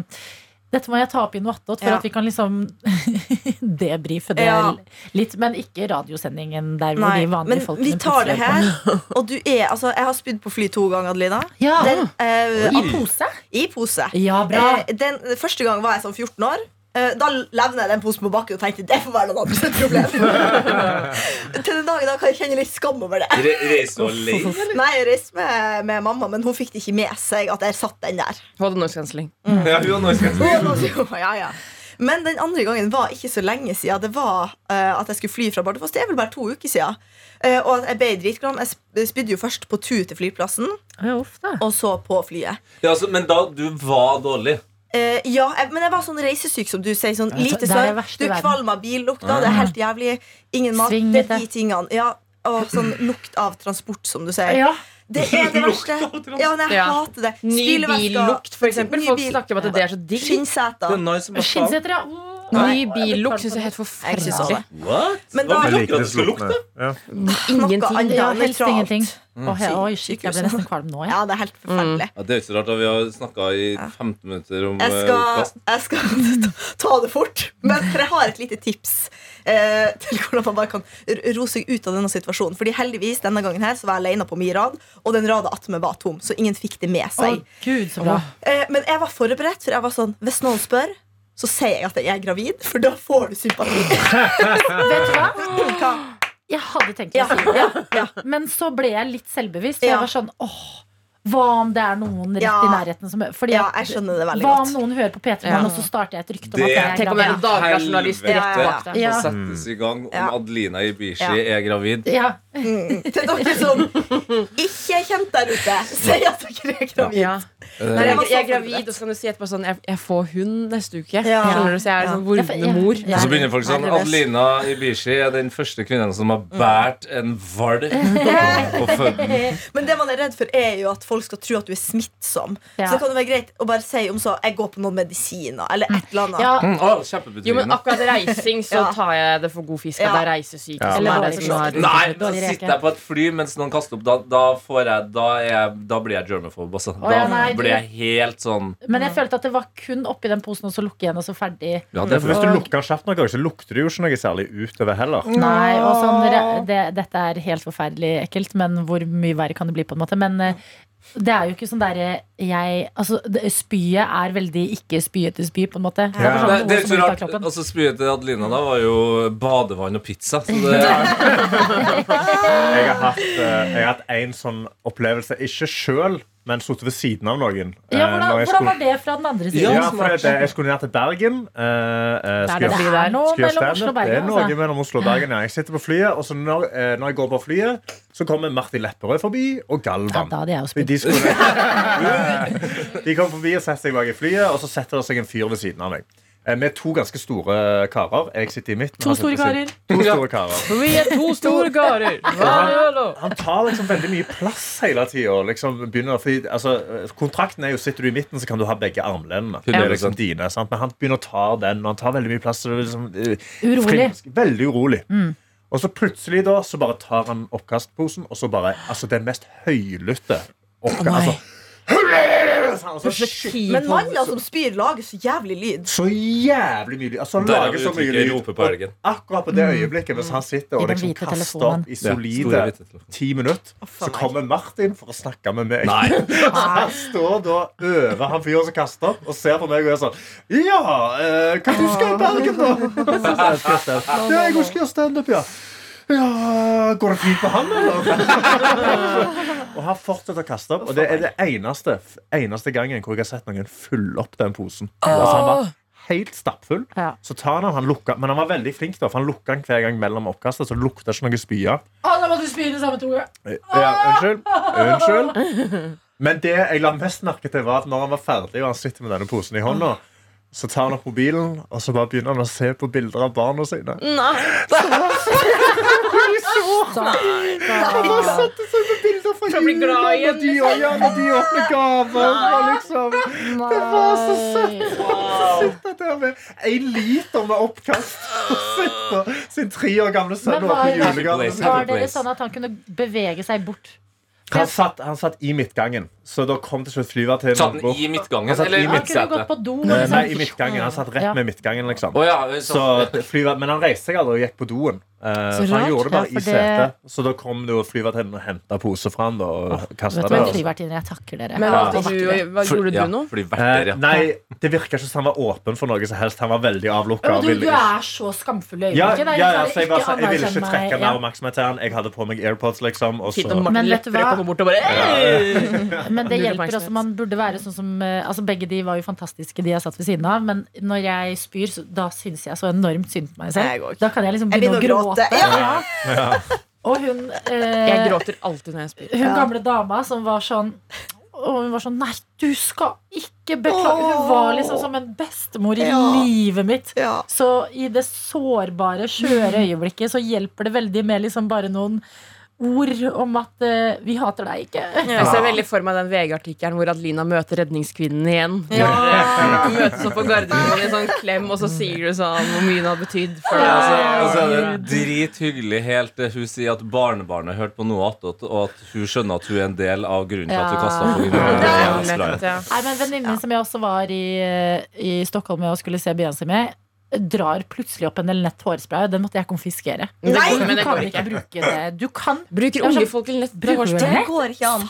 Speaker 2: dette må jeg ta opp i noe attåt for
Speaker 3: Ja.
Speaker 2: at vi kan liksom debrife det
Speaker 3: Ja.
Speaker 2: litt. Men ikke radiosendingen der hvor
Speaker 3: Nei,
Speaker 2: de
Speaker 3: men
Speaker 2: vanlige folkene
Speaker 3: vi tar det
Speaker 2: plutselig er
Speaker 3: her. Og du er Altså, jeg har spydd på fly to ganger, Adelina.
Speaker 2: på. Ja,
Speaker 3: Den, eh,
Speaker 2: I pose?
Speaker 3: I pose.
Speaker 2: Ah. Ja, bra.
Speaker 3: Eh, Den første gang var jeg sånn 14 år. Eh, Da levner jeg den posen på bakken og tenkte det får være noen andres problem. Til den dagen da kan jeg kjenne litt skam over det.
Speaker 5: Re Reis og leik.
Speaker 3: Nei, Jeg reiste med, med mamma, men hun fikk det ikke med seg at jeg satt den der.
Speaker 7: Hold noise cancelling.
Speaker 5: Ja, hun har noe skal jeg si.
Speaker 3: Og da- Ja, ja. Men den andre gangen var ikke så lenge siden. Det var eh, at jeg skulle fly fra Bardufoss. Det er vel bare to uker siden. Eh, og at jeg ble dritglad. Jeg sp- spydde jo først på tur til flyplassen,
Speaker 2: Ja, uff da.
Speaker 3: og så på flyet.
Speaker 5: Ja, altså, men da du var dårlig
Speaker 3: Eh, ja, jeg, men jeg var sånn reisesyk, som du sier. Sånn,
Speaker 2: det
Speaker 3: lite
Speaker 2: er
Speaker 3: søvn.
Speaker 2: verste
Speaker 3: Du
Speaker 2: verden.
Speaker 3: kvalmer av billukta. Det er helt jævlig. Ingen mat. Det
Speaker 2: Svingete.
Speaker 3: er de tingene. Ja, og sånn lukt av transport, som du sier.
Speaker 2: Ja.
Speaker 3: Det er det verste. Ja, men jeg
Speaker 7: Ja.
Speaker 3: hater det.
Speaker 7: Ny billukt, for eksempel.
Speaker 3: Ny
Speaker 7: Folk
Speaker 3: bil.
Speaker 7: snakker om at det er så
Speaker 5: Det
Speaker 7: digg.
Speaker 3: Skinnseter.
Speaker 5: er nice som bare faen.
Speaker 2: Skinnsetter, ja. Mm.
Speaker 7: Ny billukt syns jeg er helt
Speaker 3: Jeg synes også
Speaker 7: forferdelig.
Speaker 3: det.
Speaker 5: What?
Speaker 3: Men
Speaker 5: Hva
Speaker 3: da-
Speaker 5: vil du ikke at det skal lukte?
Speaker 6: Ja.
Speaker 3: Noe
Speaker 7: Ingenting.
Speaker 3: annet.
Speaker 2: Ja,
Speaker 3: Ja,
Speaker 2: helst
Speaker 3: nøytralt.
Speaker 2: ingenting. Å, he-
Speaker 3: Sy-
Speaker 2: Oi, shit, jeg ble
Speaker 3: sykehus.
Speaker 2: nesten kvalm nå, jeg.
Speaker 3: Mm. Ja, det er helt forferdelig.
Speaker 5: Ja, det er ikke så rart at vi har snakka i 15 minutter om
Speaker 3: Jeg
Speaker 5: eh,
Speaker 3: skal,
Speaker 5: oppkast.
Speaker 3: jeg skal ta det fort, men for jeg har et lite tips eh, til hvordan man bare kan r- ro seg ut av denne situasjonen. Fordi heldigvis denne gangen her så var jeg alene på min rad, og den rada attmed var tom. Så ingen fikk det med
Speaker 2: Å,
Speaker 3: seg.
Speaker 2: gud, så bra.
Speaker 3: Eh, men jeg var forberedt, for jeg var sånn hvis noen spør, så sier jeg at jeg er gravid, for da får du sympati.
Speaker 2: Vet du hva?
Speaker 3: Hva?
Speaker 2: Jeg hadde tenkt å
Speaker 3: Ja,
Speaker 2: si det.
Speaker 3: ja, ja.
Speaker 2: Men så ble jeg litt selvbevisst. For
Speaker 3: Ja.
Speaker 2: jeg var sånn, åh, hva om det er noen rett i
Speaker 3: Ja.
Speaker 2: nærheten som fordi
Speaker 3: ja,
Speaker 2: at-
Speaker 3: jeg skjønner det veldig
Speaker 2: Hva om
Speaker 3: godt.
Speaker 2: noen hører på P3
Speaker 7: Ja.
Speaker 2: Morgen, og så starter jeg et rykte om
Speaker 5: Det-
Speaker 2: at jeg er
Speaker 7: Tenk om det
Speaker 2: gravid?
Speaker 7: er en dagbladjournalist
Speaker 5: Helvete. Mm.
Speaker 7: rett bak deg.
Speaker 5: Så
Speaker 2: Ja.
Speaker 5: settes i gang om
Speaker 3: Ja.
Speaker 5: Adelina Ibishi
Speaker 3: Ja.
Speaker 5: er gravid.
Speaker 2: Ja.
Speaker 3: Mm. Til dere som ikke er kjent der ute, si at dere er gravid.
Speaker 7: Ja.
Speaker 3: Nei, var
Speaker 7: Jeg, jeg er
Speaker 3: så
Speaker 7: gravid,
Speaker 3: forberedt.
Speaker 7: og så kan du si etterpå sånn Jeg, jeg får hund neste uke.
Speaker 3: Ja.
Speaker 7: Skjønner du, Så jeg
Speaker 3: Ja.
Speaker 7: er sånn
Speaker 2: Jeg- jeg-
Speaker 7: vordende mor.
Speaker 2: Ja.
Speaker 5: Og så begynner folk sånn
Speaker 3: Nei, det er best.
Speaker 5: Adelina Ibishi er den første kvinnen som har båret en hval på føden.
Speaker 3: Men det man er redd for, er jo at folk skal tro at du er smittsom.
Speaker 2: Ja.
Speaker 3: Så det kan jo være greit å bare si om så jeg går på noen medisiner eller et eller annet.
Speaker 2: Ja,
Speaker 5: Mm, å,
Speaker 7: Jo, men
Speaker 5: Kjempebetryggende.
Speaker 7: akkurat reising så
Speaker 3: Ja.
Speaker 7: tar jeg det for god fisk. At
Speaker 3: Ja.
Speaker 7: det er reisesyke.
Speaker 6: Ja.
Speaker 7: som
Speaker 2: Eller
Speaker 7: er
Speaker 2: bare
Speaker 7: det som
Speaker 2: forstå.
Speaker 7: har-
Speaker 5: Nei, da
Speaker 2: Dårlig reke.
Speaker 5: sitter jeg på et fly mens noen kaster opp. Da, da, får jeg, da, er jeg, da blir jeg germophobe, altså. Da
Speaker 2: ja, nei, du-
Speaker 5: blir jeg helt sånn
Speaker 2: men jeg følte at det var kun oppi den posen, og så lukke igjen, og så ferdig.
Speaker 5: Ja,
Speaker 6: Ja, for hvis du
Speaker 2: Og-
Speaker 6: lukker den kjapt nok, så lukter det jo ikke noe særlig utover heller.
Speaker 2: Nei, og sånn, re- det, dette er helt forferdelig ekkelt, men hvor mye verre kan det bli på en måte? Men eh, det er jo ikke sånn derre jeg Altså, det, spyet er veldig ikke spyete spy, på en måte. Det er
Speaker 6: Ja.
Speaker 5: Det,
Speaker 2: bare sånn
Speaker 5: det er
Speaker 2: noe
Speaker 5: ikke
Speaker 2: som går
Speaker 5: så
Speaker 2: ut av
Speaker 5: rart.
Speaker 2: kroppen.
Speaker 5: Altså, Spyet til Adelina da var jo badevann og pizza. Så det er,
Speaker 6: Jeg har hatt, eh, jeg har hatt en sånn opplevelse, ikke sjøl, men sittet ved siden av noen. eh,
Speaker 2: Ja, hvordan,
Speaker 6: når jeg
Speaker 2: hvordan
Speaker 6: skulle-
Speaker 2: var det fra den andre
Speaker 6: Ja,
Speaker 2: siden?
Speaker 6: for det, jeg skulle ned til Bergen. eh, eh,
Speaker 2: Det
Speaker 6: skulle
Speaker 2: er, det er
Speaker 6: gjøre-
Speaker 2: noe mellom
Speaker 6: skulle gjøre standup.
Speaker 2: Oslo og
Speaker 6: Det er
Speaker 2: Bergen.
Speaker 6: noe
Speaker 2: Altså.
Speaker 6: mellom Oslo og Bergen. Ja. Jeg sitter på flyet, og så når, eh, når jeg går på flyet, så kommer Martin Lepperød forbi, og
Speaker 2: Ja,
Speaker 6: Galvan.
Speaker 2: da hadde jeg jo
Speaker 6: De,
Speaker 2: spydd.
Speaker 6: de, skulle, de kom forbi og setter seg bak i flyet, og så setter det seg en fyr ved siden av meg. Eh, Med to ganske store karer. Jeg sitter i midten.
Speaker 2: To
Speaker 6: han sitter
Speaker 2: store
Speaker 6: ved siden- To store karer.
Speaker 7: Vi er to store karer.
Speaker 6: Han tar liksom veldig mye plass hele tida. Liksom begynner- fordi, altså, kontrakten er jo sitter du i midten, så kan du ha begge armlenene. Det er liksom dine, sant? Men han begynner å ta den, og han tar veldig mye plass. Og det er liksom, eh,
Speaker 2: Urolig. Mm.
Speaker 6: frimsk- Veldig urolig. Og så plutselig da, så bare tar han oppkastposen, og så bare Altså, den mest høylytte oppkast... altså, og så shit,
Speaker 3: Men manner som spyr, lager så jævlig lyd.
Speaker 6: så jævlig mye lyd. Altså, han
Speaker 5: Der har
Speaker 6: lager så mye
Speaker 5: uttrykket
Speaker 6: lyd.
Speaker 5: rope på helgen.
Speaker 6: Og Akkurat på det øyeblikket, hvis han sitter
Speaker 2: Mm. I
Speaker 6: og
Speaker 2: den
Speaker 6: liksom
Speaker 2: hvite
Speaker 6: kaster
Speaker 2: telefonen.
Speaker 6: opp i
Speaker 5: Ja, store
Speaker 6: solide
Speaker 5: hvite telefonen.
Speaker 6: ti minutter, så
Speaker 3: faen meg.
Speaker 6: kommer Martin for å snakke med meg. Så han står da over han fyren som kaster opp, og ser på meg og er sånn Ja, eh, hva du skal i Bergen, da? Så sier jeg, «Skal jeg stand-up?» Ja, jeg også skal gjøre standup, ja. Ja, Går det fint med han, eller? og han fortsetter å kaste opp. Og det er det eneste, eneste gangen hvor jeg har sett noen fylle opp den posen. Altså, han var helt stappfull.
Speaker 2: Ja.
Speaker 6: Så tar han, den, han lukka, men han var veldig flink da, for han lukka den hver gang mellom oppkastet. Så lukta ikke noe spya.
Speaker 2: Å, da måtte du spy i det samme toget!
Speaker 6: Ja, unnskyld. Unnskyld. Men det jeg la mest merke til, var at når han var ferdig og han sitter med denne posen i hånda, så tar han opp mobilen og så bare begynner han å se på bilder av barna sine. Han bare satte seg på bilder fra
Speaker 7: For å bli
Speaker 6: julen,
Speaker 7: glad igjen,
Speaker 6: og de, og, ja, når de åpner gaver. Og liksom. Det var så søtt. Sitter der med en liter med oppkast og sitter sin tre år gamle sønn
Speaker 2: Men
Speaker 6: og åpner
Speaker 2: var-
Speaker 6: julegavene.
Speaker 2: Var dere sånn at han kunne bevege seg bort?
Speaker 6: Han satt, han satt i midtgangen, så da kom til slutt flyvertinnen.
Speaker 5: Satt den
Speaker 6: bort.
Speaker 5: i midtgangen?
Speaker 6: Han satt i
Speaker 5: Eller i
Speaker 2: Han kunne gått
Speaker 5: midtsetet?
Speaker 2: på do.
Speaker 6: Nei,
Speaker 2: Liksom.
Speaker 6: nei, i midtgangen. Han satt rett
Speaker 2: Ja.
Speaker 6: med midtgangen, liksom.
Speaker 5: Å ja,
Speaker 6: Så
Speaker 5: sånn.
Speaker 6: flyver, men han reiste seg aldri og gikk på doen. Eh,
Speaker 7: Så
Speaker 6: så han
Speaker 7: rart.
Speaker 6: gjorde det bare
Speaker 2: Ja, for
Speaker 6: i setet. Så da kom det jo flyvertinnen og henta pose fra han da, og kasta
Speaker 2: Vet du,
Speaker 6: det.
Speaker 2: men
Speaker 6: altså.
Speaker 2: flyvertinner, jeg takker dere.
Speaker 7: Men
Speaker 2: Ja.
Speaker 7: valgte du, å- hva, gjorde
Speaker 5: ja,
Speaker 7: du noe?
Speaker 5: Fordi
Speaker 6: Eh,
Speaker 5: verter, ja.
Speaker 6: nei, det virka ikke som han var åpen for noe som helst. Han var veldig avlukka.
Speaker 2: Men du, du er så skamfull i
Speaker 6: ja,
Speaker 2: øyeblikket.
Speaker 6: ja,
Speaker 2: Det er
Speaker 6: ja,
Speaker 2: liksom
Speaker 6: så jeg, bare, sa- jeg ville
Speaker 2: anerkjenn
Speaker 6: ikke trekke
Speaker 2: meg.
Speaker 6: mer oppmerksomhet til han. Jeg hadde på meg AirPods, liksom. Og så,
Speaker 7: Fint
Speaker 2: Men
Speaker 7: om Martin
Speaker 2: vet du
Speaker 7: lettere
Speaker 2: hva?
Speaker 7: kommer bort og bare «Hey!»
Speaker 2: Ja. eh, Men det
Speaker 7: Null
Speaker 2: hjelper
Speaker 7: oppmerksomhet.
Speaker 2: også. Man burde være sånn som eh, Altså Begge de var jo fantastiske, de jeg satt ved siden av. Men når jeg spyr, så, da syns jeg så enormt synd på meg
Speaker 3: Jeg
Speaker 2: selv.
Speaker 3: går ikke.
Speaker 2: Da kan jeg liksom
Speaker 3: Jeg
Speaker 2: begynne å
Speaker 3: begynner å
Speaker 2: gråte.
Speaker 3: gråte. Ja.
Speaker 6: Ja.
Speaker 2: Og hun eh,
Speaker 7: Jeg gråter alltid når jeg spyr.
Speaker 2: Hun gamle dama som var sånn og hun var sånn Nei, du skal ikke beklage. Hun var liksom som en bestemor i
Speaker 3: Ja.
Speaker 2: livet mitt.
Speaker 3: Ja.
Speaker 2: Så i det sårbare, skjøre øyeblikket så hjelper det veldig med liksom bare noen ord om at eh, vi hater deg ikke.
Speaker 7: Jeg ser veldig for meg den VG-artikkelen hvor Adelina møter redningskvinnen igjen. Ja. Møtes opp på Gardermoen i en sånn klem, og så sier du sånn hvor mye hun har betydd for deg.
Speaker 5: Ja,
Speaker 7: og
Speaker 5: altså,
Speaker 7: så-
Speaker 6: eh,
Speaker 5: altså, det er drithyggelig helt til hun sier at barnebarnet hørte på noe attåt, og at hun skjønner at hun er en del av grunnen til at hun
Speaker 2: Ja.
Speaker 5: kasta på
Speaker 7: Ja,
Speaker 5: grunn av
Speaker 7: lett, ja.
Speaker 2: Nei, men Venninnen som jeg også var i, eh, i Stockholm med og skulle se Beyoncé med, drar plutselig opp en del nett hårspray. og Den måtte jeg konfiskere.
Speaker 7: Men det går-
Speaker 2: Du
Speaker 7: men det
Speaker 2: kan
Speaker 7: går
Speaker 2: ikke
Speaker 7: ikke.
Speaker 2: bruke det. Du kan
Speaker 7: Bruker unge folk til lett
Speaker 2: Bruker
Speaker 7: hårspray?
Speaker 2: du
Speaker 3: Det går ikke an.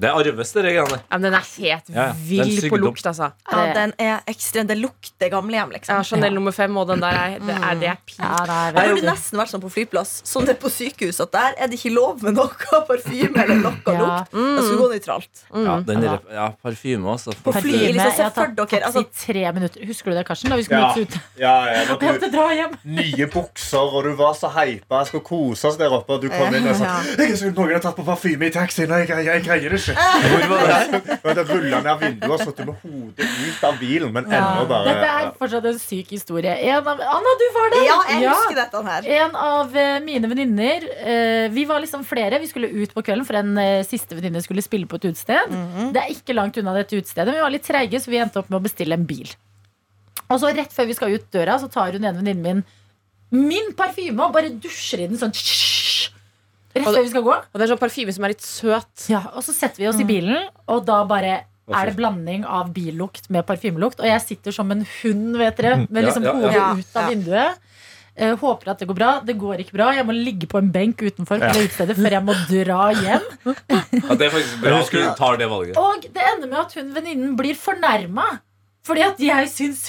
Speaker 5: Det er arves, det greiene der.
Speaker 7: Ja, men den er helt
Speaker 5: Ja, ja. Det er en
Speaker 7: vill på
Speaker 5: sykdom.
Speaker 7: lukt, altså.
Speaker 3: Ja, den er ekstrem. Det lukter gamlehjem,
Speaker 7: Ja,
Speaker 3: liksom.
Speaker 7: Chanel nummer fem og den der er, det er, det er pin.
Speaker 2: ja, nei,
Speaker 3: Jeg
Speaker 2: vet
Speaker 3: burde
Speaker 2: du.
Speaker 3: nesten vært sånn på flyplass som det er på sykehus, at der er det ikke lov med noe parfyme eller noe
Speaker 2: Ja.
Speaker 3: lukt. Det skulle gå nøytralt.
Speaker 5: Ja, den rep- ja, parfyme, altså.
Speaker 3: På fly,
Speaker 2: Parfyme,
Speaker 3: liksom,
Speaker 2: jeg
Speaker 3: se
Speaker 2: har
Speaker 3: for
Speaker 2: tatt
Speaker 3: dere
Speaker 2: taxi
Speaker 3: altså,
Speaker 2: i tre minutter. Husker du det, Karsten? Da vi skulle
Speaker 6: Ja.
Speaker 2: møtes ute.
Speaker 6: Ja, ja, men
Speaker 2: Jeg
Speaker 6: du,
Speaker 2: måtte dra hjem.
Speaker 6: nye bukser, og du var så hypa, skulle kose oss der oppe, og du kom inn og sa
Speaker 3: Ja.
Speaker 6: Jeg er så noen har tatt på parfyme i taxien, og jeg, jeg, jeg greier det ikke.
Speaker 5: Hvor var det?
Speaker 6: Og det rulla ned vinduet og satt med hodet ut av bilen, men ennå bare
Speaker 2: Dette er fortsatt en syk historie. En av, Anna, du var der!
Speaker 3: Ja, jeg husker dette her.
Speaker 2: En av eh, mine venninner eh, Vi var liksom flere. Vi skulle ut på kvelden, for en eh, siste venninne skulle spille på et utested.
Speaker 3: Mhm.
Speaker 2: Det er ikke langt unna dette utestedet, men vi var litt treige, så vi endte opp med å bestille en bil. Og så rett før vi skal ut døra, så tar hun ene venninnen min min parfyme og bare dusjer i den sånn Rett
Speaker 7: Og
Speaker 2: før vi skal gå.
Speaker 7: Og det er sånn parfyme som er litt søt.
Speaker 2: Ja, og så setter vi oss i bilen, og da bare er det blanding av billukt med parfymelukt. Og jeg sitter som en hund, vet dere, med
Speaker 5: Ja,
Speaker 2: liksom
Speaker 5: ja, ja.
Speaker 2: hodet
Speaker 3: Ja,
Speaker 2: ut av
Speaker 3: ja.
Speaker 2: vinduet. Eh, håper at det går bra. Det går ikke bra. Jeg må ligge på en benk utenfor på det utestedet før jeg må dra hjem.
Speaker 5: Ja, det er faktisk bra at du tar det valget.
Speaker 2: Og det ender med at hun venninnen blir fornærma fordi at jeg syns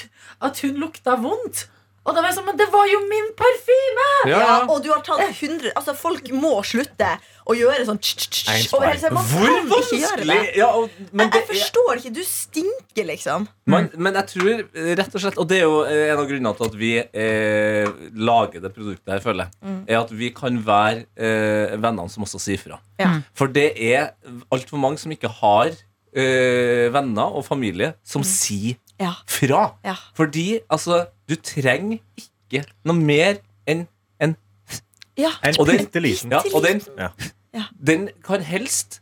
Speaker 2: at hun lukta vondt. Og da var jeg sånn, men det var jo min parfyme!
Speaker 5: Ja,
Speaker 3: Ja,
Speaker 5: ja.
Speaker 3: og du har tatt 100 Altså, folk må slutte å gjøre sånn tsk, tsk, tsk,
Speaker 6: Einsparing.
Speaker 3: over hele seg. Man
Speaker 5: Hvor
Speaker 3: kan ikke gjøre
Speaker 5: vanskelig?
Speaker 3: det.
Speaker 5: Ja, og, men
Speaker 3: Jeg,
Speaker 5: det
Speaker 3: jeg forstår ikke. Du stinker, liksom.
Speaker 5: Men, men jeg tror eh, rett og slett Og det er jo eh, en av grunnene til at vi eh, lager det produktet her, føler jeg.
Speaker 3: Mm.
Speaker 5: Er at vi kan være eh, vennene som også sier fra.
Speaker 3: Ja.
Speaker 5: For det er altfor mange som ikke har eh, venner og familie som sier
Speaker 3: Mm. Ja.
Speaker 5: fra.
Speaker 3: Ja.
Speaker 5: Fordi altså, du trenger ikke noe mer enn en
Speaker 3: ja.
Speaker 6: En
Speaker 5: Og det-
Speaker 6: bitte liten.
Speaker 5: ja, Og den,
Speaker 6: Ja.
Speaker 3: Ja.
Speaker 5: den kan helst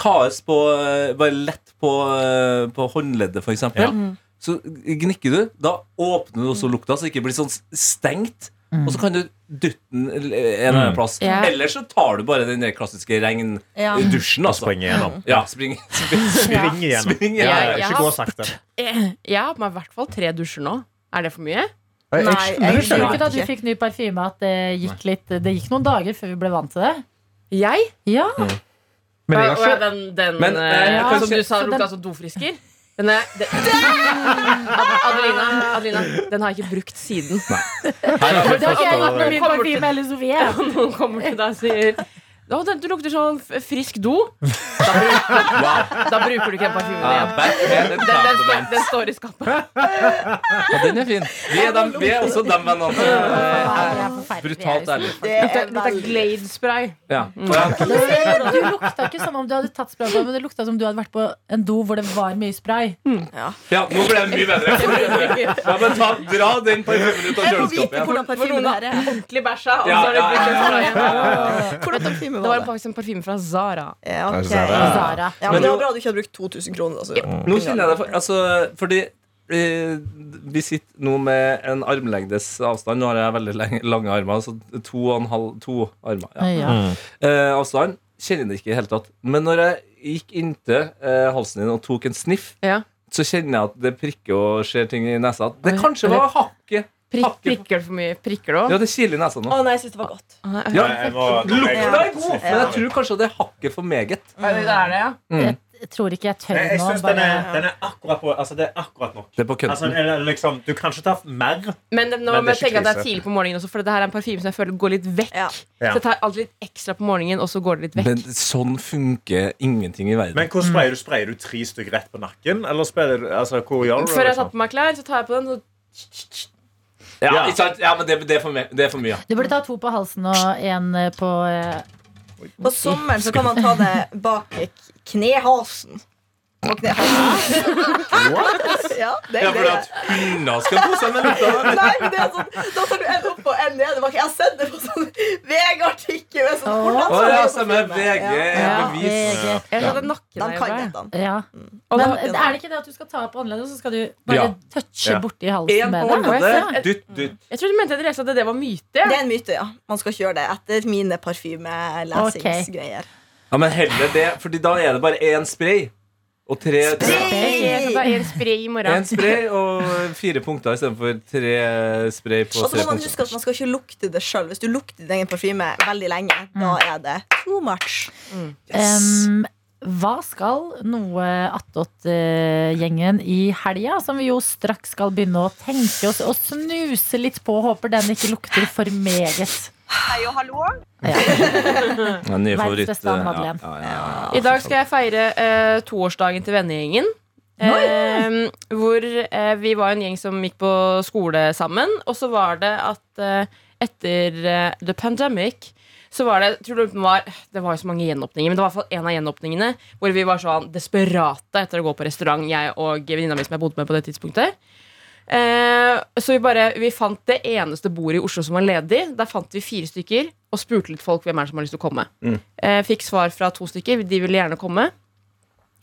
Speaker 5: tas på eh, Bare lett på, eh, på håndleddet, for eksempel.
Speaker 6: Ja.
Speaker 5: Så gnikker du, da åpner du også lukta, så det ikke blir sånn stengt. Og så kan du dytte den en eller annen
Speaker 6: Mm.
Speaker 5: plass.
Speaker 7: Ja.
Speaker 5: Eller så tar du bare den der klassiske regndusjen.
Speaker 3: Ja.
Speaker 5: Altså.
Speaker 6: Springe gjennom.
Speaker 5: Ja, spring, spring,
Speaker 6: Spring igjennom.
Speaker 5: spring.
Speaker 6: Ja,
Speaker 5: Ja.
Speaker 6: ja,
Speaker 7: Jeg
Speaker 6: ikke
Speaker 7: har
Speaker 6: gå sakte.
Speaker 7: Eh, Jeg har på meg i hvert fall tre dusjer nå. Er det for mye?
Speaker 6: Jeg- jeg
Speaker 3: Nei,
Speaker 6: skjønner
Speaker 3: jeg
Speaker 6: ikke.
Speaker 2: Tror du ikke da du
Speaker 3: Ikke.
Speaker 2: fikk ny parfyme at det gikk litt Det gikk noen dager før vi ble vant til det?
Speaker 7: Jeg?
Speaker 2: Ja,
Speaker 6: Men jeg har
Speaker 7: Og
Speaker 6: ikke
Speaker 7: den, den
Speaker 5: Men,
Speaker 7: eh,
Speaker 5: eh,
Speaker 7: som
Speaker 5: kanskje-
Speaker 7: du sa
Speaker 2: så
Speaker 7: lukta
Speaker 2: den-
Speaker 7: som dofrisker? Den er, det, Ad- Adelina, Adelina, den har jeg ikke brukt siden.
Speaker 5: Her har vi
Speaker 2: Det har ikke jeg
Speaker 5: fått-
Speaker 2: gjort med min
Speaker 7: Kommer
Speaker 2: parfyme eller Sofie.
Speaker 7: Og noen kommer til deg og sier Å, den, du lukter sånn f- frisk do.
Speaker 5: Wow.
Speaker 7: Da bruker du ikke den parfymen
Speaker 5: Ah,
Speaker 7: igjen.
Speaker 5: back med en
Speaker 7: Den, den, står-
Speaker 5: compliment.
Speaker 7: den står i skapet.
Speaker 5: Ja, den er fin. Vi er, dem, vi er også de vennene som
Speaker 2: Vi
Speaker 5: er
Speaker 2: er forferdelige.
Speaker 5: Eh, brutalt ærlige.
Speaker 3: Det er
Speaker 7: Dette er
Speaker 3: veldig
Speaker 7: Glade-spray.
Speaker 5: Ja. Ja.
Speaker 2: Du lukta ikke som om du hadde tatt spray, på, men det lukta som du hadde vært på en do hvor det var mye spray.
Speaker 5: ja, nå ble det mye bedre. Ja, men ta, dra den parfymen ut av
Speaker 3: Jeg må vite
Speaker 5: kjøleskapet.
Speaker 3: hvordan parfyme det her er.
Speaker 7: Ordentlig bæsja. Og
Speaker 5: Ja,
Speaker 7: så har de
Speaker 5: ja,
Speaker 7: brukt den
Speaker 5: ja,
Speaker 7: sprayen.
Speaker 3: Hvordan parfyme
Speaker 7: Det var
Speaker 3: var det?
Speaker 7: faktisk en parfyme fra Zara.
Speaker 3: Ja, ok.
Speaker 6: Zara.
Speaker 2: Zara.
Speaker 3: ja, men det var bra du ikke hadde brukt 2000 kroner. Altså.
Speaker 5: Nå kjenner jeg det for, altså, Fordi eh, vi sitter nå med en armlengdes avstand. Nå har jeg veldig lenge, lange armer, så to og en halv To armer. Ja.
Speaker 2: Ja.
Speaker 5: Eh, avstand kjenner det ikke i det hele tatt. Men når jeg gikk inntil eh, halsen din og tok en sniff,
Speaker 7: Ja.
Speaker 5: så kjenner jeg at det prikker og skjer ting i nesa. At det
Speaker 7: Oi,
Speaker 5: kanskje
Speaker 7: eller-
Speaker 5: var hakket.
Speaker 7: Prikk,
Speaker 5: Hakket.
Speaker 7: prikker det for mye? Prikker det
Speaker 5: Ja,
Speaker 7: òg?
Speaker 5: det kiler i nesa nå.
Speaker 3: Å nei, jeg synes det var godt.
Speaker 5: Ja,
Speaker 6: Jeg må-
Speaker 5: Lukta er god,
Speaker 3: Ja.
Speaker 5: men jeg tror kanskje det er hakket for meget.
Speaker 7: Det er det, ja.
Speaker 2: Jeg tror ikke jeg tør
Speaker 6: Jeg, jeg
Speaker 2: nå.
Speaker 6: syns den,
Speaker 2: Bare.
Speaker 6: er- den er akkurat på Altså, det er akkurat nok.
Speaker 5: Det er på
Speaker 6: Altså,
Speaker 5: kønten.
Speaker 6: eller liksom, du kan ikke ta mer.
Speaker 7: Men det- nå
Speaker 6: Men
Speaker 7: må
Speaker 6: det er ikke
Speaker 7: jeg tenke at det er
Speaker 6: krise.
Speaker 7: tidlig på morgenen også, for det her er en parfyme som jeg føler går litt vekk.
Speaker 3: Ja.
Speaker 6: Ja.
Speaker 7: Så jeg tar alltid litt ekstra på morgenen, og så går det litt vekk.
Speaker 5: Men sånn funker ingenting i verden.
Speaker 6: Men hvor sprayer du? Sprayer du tre stykker rett på nakken? Eller sprayer du, altså, hvor gjør du det,
Speaker 7: Før jeg tar
Speaker 6: liksom?
Speaker 7: på meg klær, så tar jeg på den. Så
Speaker 5: Ja,
Speaker 6: Ja.
Speaker 5: ikke sant? ja men det, det, er for me- det er for mye.
Speaker 2: Du burde ta to på halsen og én på eh,
Speaker 3: På sommeren så kan man ta det bak k- knehasen. Og knehasen. ja, det
Speaker 5: Ja,
Speaker 3: er
Speaker 5: fordi
Speaker 3: det.
Speaker 5: at hunder skal kose seg med lukta.
Speaker 3: Nei, men det er sånn, Da tar du en opp og en nede. bak. Jeg har sett det på sånn VG-artikkel. med sånn, hvordan
Speaker 5: Å
Speaker 3: tar
Speaker 5: ja,
Speaker 3: du det på
Speaker 5: stemmer.
Speaker 3: filmen?
Speaker 5: VG er
Speaker 7: Ja.
Speaker 5: bevis.
Speaker 2: VG.
Speaker 7: jeg tar den nakken
Speaker 3: De kan
Speaker 7: der.
Speaker 3: jentene.
Speaker 2: Ja.
Speaker 7: Og
Speaker 2: Men
Speaker 7: da-
Speaker 2: er det ikke det at du skal ta opp annerledes, og så skal du bare
Speaker 5: Ja.
Speaker 2: touche
Speaker 6: Ja.
Speaker 2: borti halsen
Speaker 5: Én på
Speaker 2: med det?
Speaker 5: hodet. Dytt, dytt.
Speaker 7: Jeg trodde du mente at jeg leste at det var myte.
Speaker 3: Det er en myte, ja. Man skal ikke gjøre det etter mine parfymelesingsgreier.
Speaker 5: Ja, men heller det, fordi da er det bare én spray. Og tre
Speaker 7: Jeg tar en spray i morgen.
Speaker 5: Én spray og fire punkter istedenfor tre spray på
Speaker 3: Og så
Speaker 5: tre
Speaker 3: må man huske
Speaker 5: punkter.
Speaker 3: at man skal ikke lukte det sjøl. Hvis du lukter din egen parfyme veldig lenge,
Speaker 2: Mm.
Speaker 3: da er det too much.
Speaker 2: Em, hva skal noe attåt-gjengen i helga, som vi jo straks skal begynne å tenke oss og snuse litt på, håper den ikke lukter for meget.
Speaker 5: Ja, nye
Speaker 2: Verdens
Speaker 5: favoritt, eh,
Speaker 2: beste Anne
Speaker 5: ja,
Speaker 2: Madeleine.
Speaker 5: ja, ja, ja.
Speaker 7: I dag skal jeg feire eh, toårsdagen til vennegjengen. Eh, hvor eh, vi var en gjeng som gikk på skole sammen. Og så var det at eh, etter eh, the pandemic så var det tror du det var, det var jo så mange gjenåpninger, men det var i hvert fall en av gjenåpningene hvor vi var sånn desperate etter å gå på restaurant, jeg og venninna mi som jeg bodde med på det tidspunktet. Eh, så vi bare, vi fant det eneste bordet i Oslo som var ledig. Der fant vi fire stykker og spurte litt folk hvem er det som har lyst til å komme. Eh, fikk svar fra to stykker. De ville gjerne komme.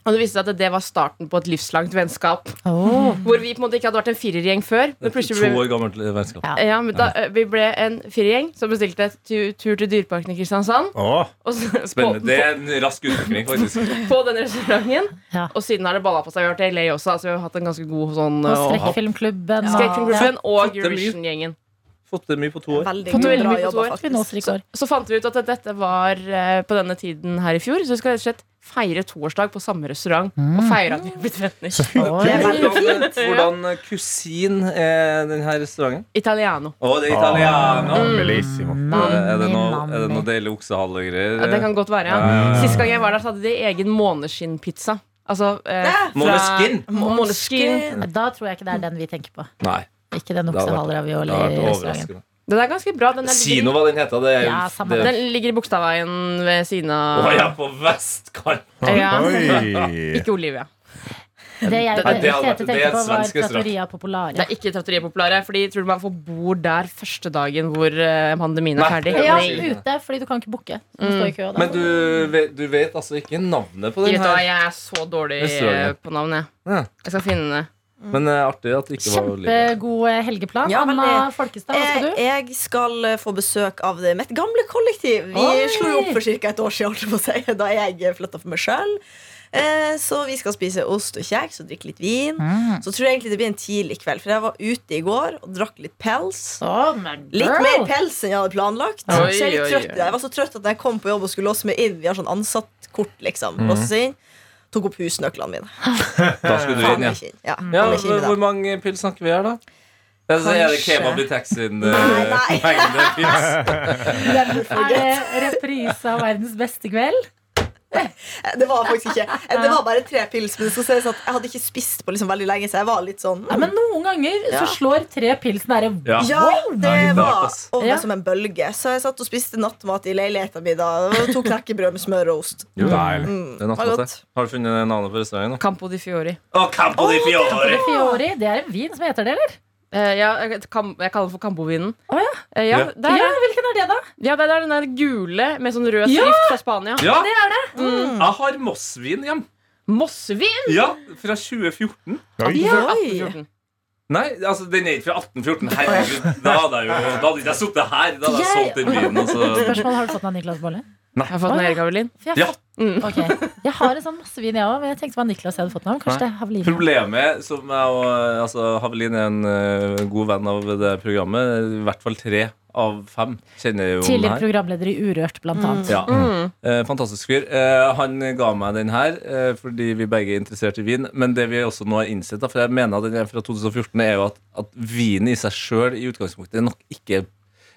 Speaker 7: Og det viste seg at det var starten på et livslangt vennskap.
Speaker 2: Åh,
Speaker 7: Hvor vi på en måte ikke hadde vært en firergjeng før. Men plutselig
Speaker 5: To
Speaker 7: ble,
Speaker 5: år gammelt vennskap.
Speaker 7: ja, men da, eh, vi ble en firergjeng som bestilte et tu- tur til Dyreparken i Kristiansand.
Speaker 6: Åh,
Speaker 7: Og så, på,
Speaker 5: Spennende. Det er en rask utvikling, faktisk.
Speaker 7: på, på den restauranten.
Speaker 2: Ja.
Speaker 7: Og siden har det balla på seg. Vi har vært i LA også, så vi har hatt en ganske god sånn
Speaker 2: Og
Speaker 7: eh, hopp.
Speaker 2: Skrekkfilmklubben. og-
Speaker 7: Skrekkfilmklubben og
Speaker 5: Fått det mye.
Speaker 7: Eurovision-gjengen.
Speaker 5: Fått det mye på to år.
Speaker 3: Veldig
Speaker 7: Fått
Speaker 3: bra
Speaker 7: veldig mye på
Speaker 3: jobba,
Speaker 7: tår.
Speaker 2: Ja, vi nås
Speaker 3: faktisk.
Speaker 2: ikke i går.
Speaker 7: Så fant vi ut at dette var eh, på denne tiden her i fjor. Så vi skal rett og slett feire toårsdag på samme restaurant.
Speaker 2: Mm.
Speaker 7: Og feire at vi har blitt venner.
Speaker 2: Oi.
Speaker 5: Hvordan, hvordan kusin er denne restauranten?
Speaker 7: Italiano.
Speaker 5: Å, det er italiano.
Speaker 6: Ah, bellissimo.
Speaker 2: Ah.
Speaker 5: Er det noe,
Speaker 2: Nammi,
Speaker 5: er det noe
Speaker 2: nammi.
Speaker 5: deilig oksehale og greier?
Speaker 7: Ja, det kan godt være, ja.
Speaker 5: Ja, ja, ja.
Speaker 7: Sist gang jeg var der, så hadde de egen måneskinnpizza. Altså eh,
Speaker 3: Ja.
Speaker 7: fra-
Speaker 5: Måneskin?
Speaker 7: Må- Måneskin.
Speaker 2: Da tror jeg ikke det er den vi tenker på.
Speaker 5: Nei.
Speaker 2: Ikke den
Speaker 5: Det har vært- Det har vært
Speaker 2: oksehaler-ravioli-restauranten.
Speaker 5: overraskende.
Speaker 7: Den er gansi bra. Den, er
Speaker 5: Si
Speaker 7: ligger,
Speaker 5: nå hva den heter. Det er jo
Speaker 2: Ja, samme
Speaker 5: det-
Speaker 7: den ligger i Bogstadveien ved siden av
Speaker 5: Å ja, på vestkant!
Speaker 7: Ja.
Speaker 6: Oi.
Speaker 7: Ikke Olivia.
Speaker 2: Det jeg
Speaker 7: Det- det-
Speaker 5: det
Speaker 2: Tete
Speaker 5: er
Speaker 2: tenker på, var
Speaker 5: svenske straff.
Speaker 2: Trattoria
Speaker 7: Det
Speaker 2: Popolare.
Speaker 7: er ikke Trattoria Populare, Fordi tror du man får bord der første dagen hvor eh, pandemien er
Speaker 5: Nei.
Speaker 7: ferdig?
Speaker 2: Ja,
Speaker 7: Nei.
Speaker 2: ute, fordi du kan ikke booke. Du må stå i kø, da.
Speaker 5: Mm. Men du, vet- du vet altså ikke navnet på
Speaker 7: Vet
Speaker 5: den
Speaker 7: du hva,
Speaker 5: her?
Speaker 7: jeg er så dårlig
Speaker 5: Jeg så det.
Speaker 7: eh, på navn, jeg.
Speaker 5: Ja.
Speaker 7: Jeg skal finne det.
Speaker 5: Men eh, artig at det ikke var Olivia.
Speaker 2: Kjempegod eh, helgeplan.
Speaker 3: Ja, veldig.
Speaker 2: Anna Folkestad, hva skal
Speaker 3: Jeg,
Speaker 2: du?
Speaker 3: jeg skal eh, få besøk av det- mitt gamle kollektiv. Vi
Speaker 2: Oi!
Speaker 3: slo jo opp for ca. et år siden, holdt jeg på å si, da jeg flytta for meg sjøl. Så vi skal spise ost og kjeks og drikke litt vin.
Speaker 2: Mm.
Speaker 3: Så tror jeg egentlig det blir en tidlig kveld, for jeg var ute i går og drakk litt pels. Litt mer pels enn jeg hadde planlagt.
Speaker 7: Oi,
Speaker 3: så jeg, er litt
Speaker 7: oi,
Speaker 3: trøtt. i
Speaker 7: oi.
Speaker 3: dag. jeg var så trøtt at da jeg kom på jobb og skulle låse meg inn. Vi har sånn ansattkort, liksom. Låse seg inn. Tok opp husnøklene mine.
Speaker 5: Da skulle du
Speaker 3: Faen,
Speaker 5: inn, ja.
Speaker 3: jeg er ikke inn. Ja,
Speaker 5: ja
Speaker 3: jeg er ikke inn i
Speaker 5: hvor-
Speaker 3: dag.
Speaker 5: hvor mange pils snakker vi her, da? Altså, er det
Speaker 3: Kanskje.
Speaker 5: kebab i taxien? eh,
Speaker 3: Nei, nei.
Speaker 5: Nei.
Speaker 2: Er det reprise av verdens beste kveld?
Speaker 3: Det var faktisk ikke eh, Det var bare tre pils. Men det skal sies at jeg hadde ikke spist på liksom veldig lenge, så jeg var litt sånn
Speaker 2: Ja, men noen ganger
Speaker 3: Ja.
Speaker 2: så slår tre pils nære
Speaker 5: Ja.
Speaker 3: Ja, det
Speaker 5: Nei,
Speaker 3: var
Speaker 5: ass.
Speaker 3: over
Speaker 2: Ja.
Speaker 3: meg som en bølge. Så jeg satt og spiste nattmat i leiligheten min. da Og Tok knekkebrød med smør og ost.
Speaker 5: Jo, deilig.
Speaker 3: Mm,
Speaker 5: Det er
Speaker 3: var
Speaker 5: nattmatte.
Speaker 3: godt.
Speaker 5: Har du funnet navnet på restauranten? da?
Speaker 7: Campo di Fiori.
Speaker 5: Å, Campo di Fiore!
Speaker 2: Fiori, det er en vin som heter det, eller?
Speaker 7: Eh, ja, jeg, kam, jeg kaller den for Campovinen.
Speaker 2: Å, ja.
Speaker 7: Eh, ja,
Speaker 5: Ja.
Speaker 7: der er-
Speaker 2: Ja, hvilken er det, da?
Speaker 7: ja, der er den der gule med sånn rød
Speaker 2: Ja!
Speaker 7: skrift fra Spania.
Speaker 5: Ja,
Speaker 2: Det er det.
Speaker 5: jeg har Mossvin hjem.
Speaker 7: Mossvin!
Speaker 5: Ja, fra 2014.
Speaker 3: Oi.
Speaker 7: 1814.
Speaker 5: Nei, altså den er ikke fra 1814. Herregud, da hadde jeg jo Da hadde ikke jeg sittet her. Da hadde jeg solgt den byen. Altså.
Speaker 2: Spørsmål har du fått den av Niklas Bolle?
Speaker 7: Jeg har fått den av Erik Avelin.
Speaker 2: For jeg,
Speaker 5: Ja.
Speaker 7: Mm.
Speaker 2: Ok. jeg har en sånn masse vin, jeg òg, men jeg tenkte hva Niklas jeg hadde fått den av. Kanskje det er Haveline.
Speaker 5: Problemet som jeg og altså, Havelin er en eh, god venn av det programmet. I hvert fall tre av fem kjenner jo den
Speaker 2: Tidligere
Speaker 5: her.
Speaker 2: programleder i Urørt, blant annet.
Speaker 5: Ja. Eh, fantastisk fyr. Eh, han ga meg den her eh, fordi vi begge er interessert i vin. Men det vi også nå har innsett, da, for jeg mener at den er fra 2014, er jo at, at vinen i seg sjøl i utgangspunktet nok ikke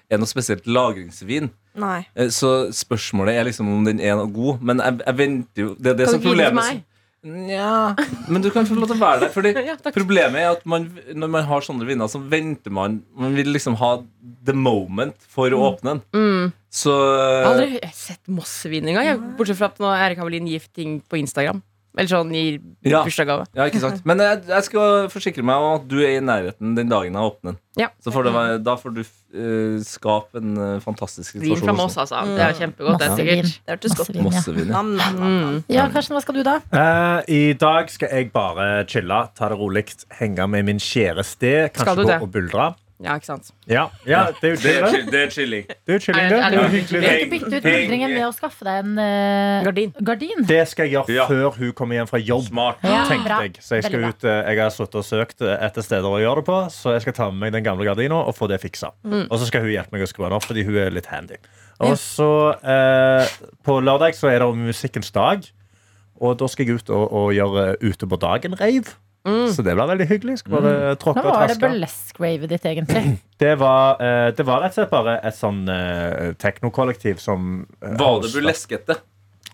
Speaker 5: er noe spesielt lagringsvin.
Speaker 3: Nei.
Speaker 5: Eh, Så spørsmålet er liksom om den er noe god. Men jeg, jeg venter jo Det er det
Speaker 7: Kan
Speaker 5: som
Speaker 7: du ikke gi den
Speaker 5: problemet
Speaker 7: til meg?
Speaker 5: Nja Men du kan få lov til å være der. Fordi
Speaker 7: Ja, takk.
Speaker 5: Problemet er at man, når man har sånne viner, så venter man Man vil liksom ha the moment for å åpne den.
Speaker 7: Mm.
Speaker 5: Så
Speaker 7: Jeg har aldri hø- sett mossevin engang. jeg. Bortsett fra at nå Erik Havelin gir ting på Instagram. Eller sånn gir
Speaker 5: Ja.
Speaker 7: bursdagsgave.
Speaker 5: Ja, ikke sant. Men jeg, jeg skal forsikre meg om at du er i nærheten den dagen jeg åpner den.
Speaker 7: Ja.
Speaker 5: Så får det, være- da får du eh, skape en eh, fantastisk
Speaker 7: Vin
Speaker 5: situasjon.
Speaker 7: fra Moss,
Speaker 5: også.
Speaker 7: altså. Det er kjempegodt. Det er
Speaker 2: Masse vin.
Speaker 7: sikkert.
Speaker 3: Det hørtes godt ut.
Speaker 2: vin, ja.
Speaker 5: Masse vin. ja.
Speaker 3: Nam, nam, nam.
Speaker 7: Mm.
Speaker 2: Ja, Karsten, hva skal du da?
Speaker 6: Eh, I dag skal jeg bare chille, ta det rolig, henge med min kjæreste.
Speaker 7: Skal du
Speaker 6: Kanskje gå
Speaker 7: det?
Speaker 6: og buldre.
Speaker 7: Ja, ikke sant.
Speaker 6: Ja, ja, det er jo
Speaker 5: Det er
Speaker 6: chilling,
Speaker 5: chill- Det er chilling.
Speaker 6: det. Det er jo chilling, det.
Speaker 7: Er det-
Speaker 6: Det
Speaker 7: er
Speaker 6: er jo
Speaker 7: det-
Speaker 6: hyggelig,
Speaker 2: Du har
Speaker 6: det.
Speaker 2: ikke byttet ut bildringen med å skaffe deg en eh,
Speaker 7: Gardin.
Speaker 2: gardin.
Speaker 6: Det skal jeg gjøre
Speaker 5: Ja.
Speaker 6: før hun kommer hjem fra jobb.
Speaker 5: Smart.
Speaker 2: Ja,
Speaker 6: tenkte
Speaker 2: bra.
Speaker 6: jeg. Så jeg, skal
Speaker 2: Veldig
Speaker 6: ut, eh, jeg har suttet og søkt eh, etter steder å gjøre det på, så jeg skal ta med meg den gamle gardina og få det fiksa.
Speaker 2: Mm.
Speaker 6: Og så skal hun hjelpe meg å skru den opp, fordi hun er litt handy. Og så eh, På lørdag så er det musikkens dag, og da skal jeg ut og, og gjøre Ute på dagen-rave. Så det blir veldig hyggelig. Skal bare tråkke
Speaker 2: Mm. Nå
Speaker 6: og
Speaker 2: var det
Speaker 6: traske.
Speaker 2: burlesque-ravet ditt, egentlig.
Speaker 6: Det var, eh, det var rett og slett bare et sånn eh, teknokollektiv som eh,
Speaker 5: Var det
Speaker 6: hostet.
Speaker 5: burleskete?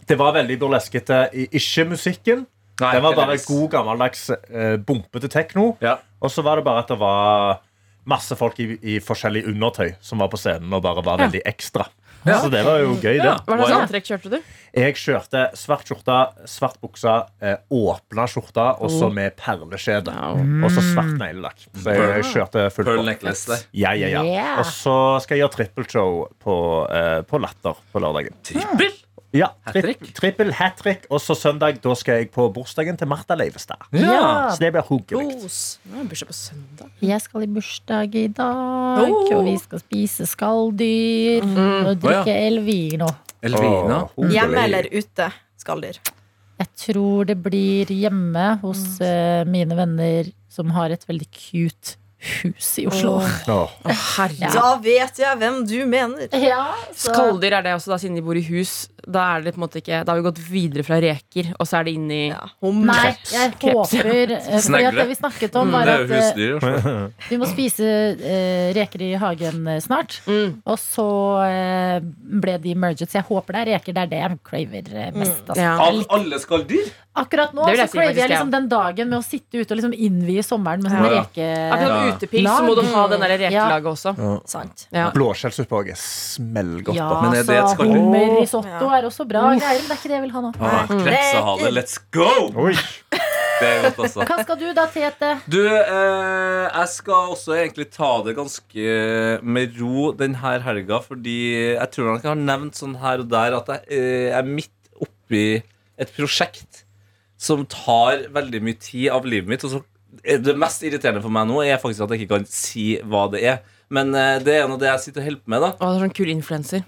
Speaker 6: Det var veldig burleskete. I- Ikke musikken.
Speaker 5: Nei,
Speaker 6: Det var bare
Speaker 5: heldigvis.
Speaker 6: god, gammeldags eh, bumpete tekno.
Speaker 5: Ja.
Speaker 6: Og så var det bare at det var masse folk i, i forskjellig undertøy som var på scenen og bare var veldig ekstra. Så det var jo gøy, det.
Speaker 5: Ja.
Speaker 7: Hva slags
Speaker 5: Wow.
Speaker 7: antrekk kjørte du?
Speaker 6: Jeg kjørte svart skjorte, svart bukse, eh, åpna skjorte og så med perlekjede. Og så svart neglelakk. Så jeg, jeg kjørte fullt
Speaker 5: Pearl
Speaker 6: på.
Speaker 5: necklace der.
Speaker 6: Ja, ja, ja.
Speaker 2: Yeah.
Speaker 6: Og så skal jeg gjøre trippelshow på, eh, på Latter på lørdagen.
Speaker 5: Trippel?
Speaker 6: Ja,
Speaker 5: Hat-trick?
Speaker 6: tripp- trippel, hat trick. Og så søndag da skal jeg på bursdagen til Martha Leivestad.
Speaker 5: Ja.
Speaker 6: Så det blir hyggelig.
Speaker 3: Kos.
Speaker 7: Ja, Bursdag på søndag.
Speaker 2: Jeg skal i bursdag i dag,
Speaker 3: Oh.
Speaker 2: og vi skal spise skalldyr og
Speaker 5: Mm. Å, ja.
Speaker 2: drikke Elvino.
Speaker 5: Elvina.
Speaker 6: Åh, hyggelig.
Speaker 3: Hjemme eller ute? Skalldyr.
Speaker 2: Jeg tror det blir hjemme hos
Speaker 5: Mm.
Speaker 2: eh, mine venner som har et veldig cute hus i Oslo.
Speaker 6: Åh.
Speaker 7: Herregud.
Speaker 3: Da vet jeg hvem du mener.
Speaker 2: Ja, så-
Speaker 7: Skalldyr er det også, da, siden de bor i hus. Da, er det på en måte ikke, da har vi gått videre fra reker, og så er det inn i
Speaker 3: Ja, hummer.
Speaker 2: Nei, jeg
Speaker 7: Kreps, ja.
Speaker 2: håper eh, Fordi at
Speaker 5: Snegle.
Speaker 2: det vi snakket om, var
Speaker 5: Mm, Det er
Speaker 2: at
Speaker 5: jo
Speaker 2: eh,
Speaker 5: husdyr. altså.
Speaker 2: vi må spise eh, reker i hagen eh, snart.
Speaker 7: Mm.
Speaker 2: Og så eh, ble de merget, så jeg håper det er reker. Det er det jeg craver eh, mest. Altså.
Speaker 7: Ja.
Speaker 5: Av alle skalldyr?
Speaker 2: Akkurat nå
Speaker 7: Det vil
Speaker 2: så
Speaker 7: jeg si
Speaker 2: craver
Speaker 7: faktisk,
Speaker 2: jeg
Speaker 7: ja.
Speaker 2: liksom den dagen med å sitte ute og liksom innvie sommeren med sånn
Speaker 5: Ja.
Speaker 2: reke...
Speaker 7: Akkurat
Speaker 5: Ja.
Speaker 7: utepils så må du ha den der rekelaget også.
Speaker 3: sånn, Sant.
Speaker 7: Ja.
Speaker 6: Blåskjellsuppe òg er smellgodt.
Speaker 2: Ja, altså,
Speaker 6: da.
Speaker 5: Men er det
Speaker 2: så
Speaker 5: et skalldyr?
Speaker 2: hummerrisotto er også bra greier. Men det er ikke det jeg vil ha nå.
Speaker 5: Ah, Krepsehale, let's go!
Speaker 6: Oi.
Speaker 5: Det er godt, altså.
Speaker 2: Hva skal du da, Tete?
Speaker 5: Du, eh, jeg skal også egentlig ta det ganske med ro denne helga, fordi jeg tror nok jeg har nevnt sånn her og der at jeg eh, er midt oppi et prosjekt som tar veldig mye tid av livet mitt. Og så eh, det mest irriterende for meg nå er faktisk at jeg ikke kan si hva det er. Men eh, det er nå det jeg sitter og holder på med, da.
Speaker 7: Å, det er sånn kul influenser.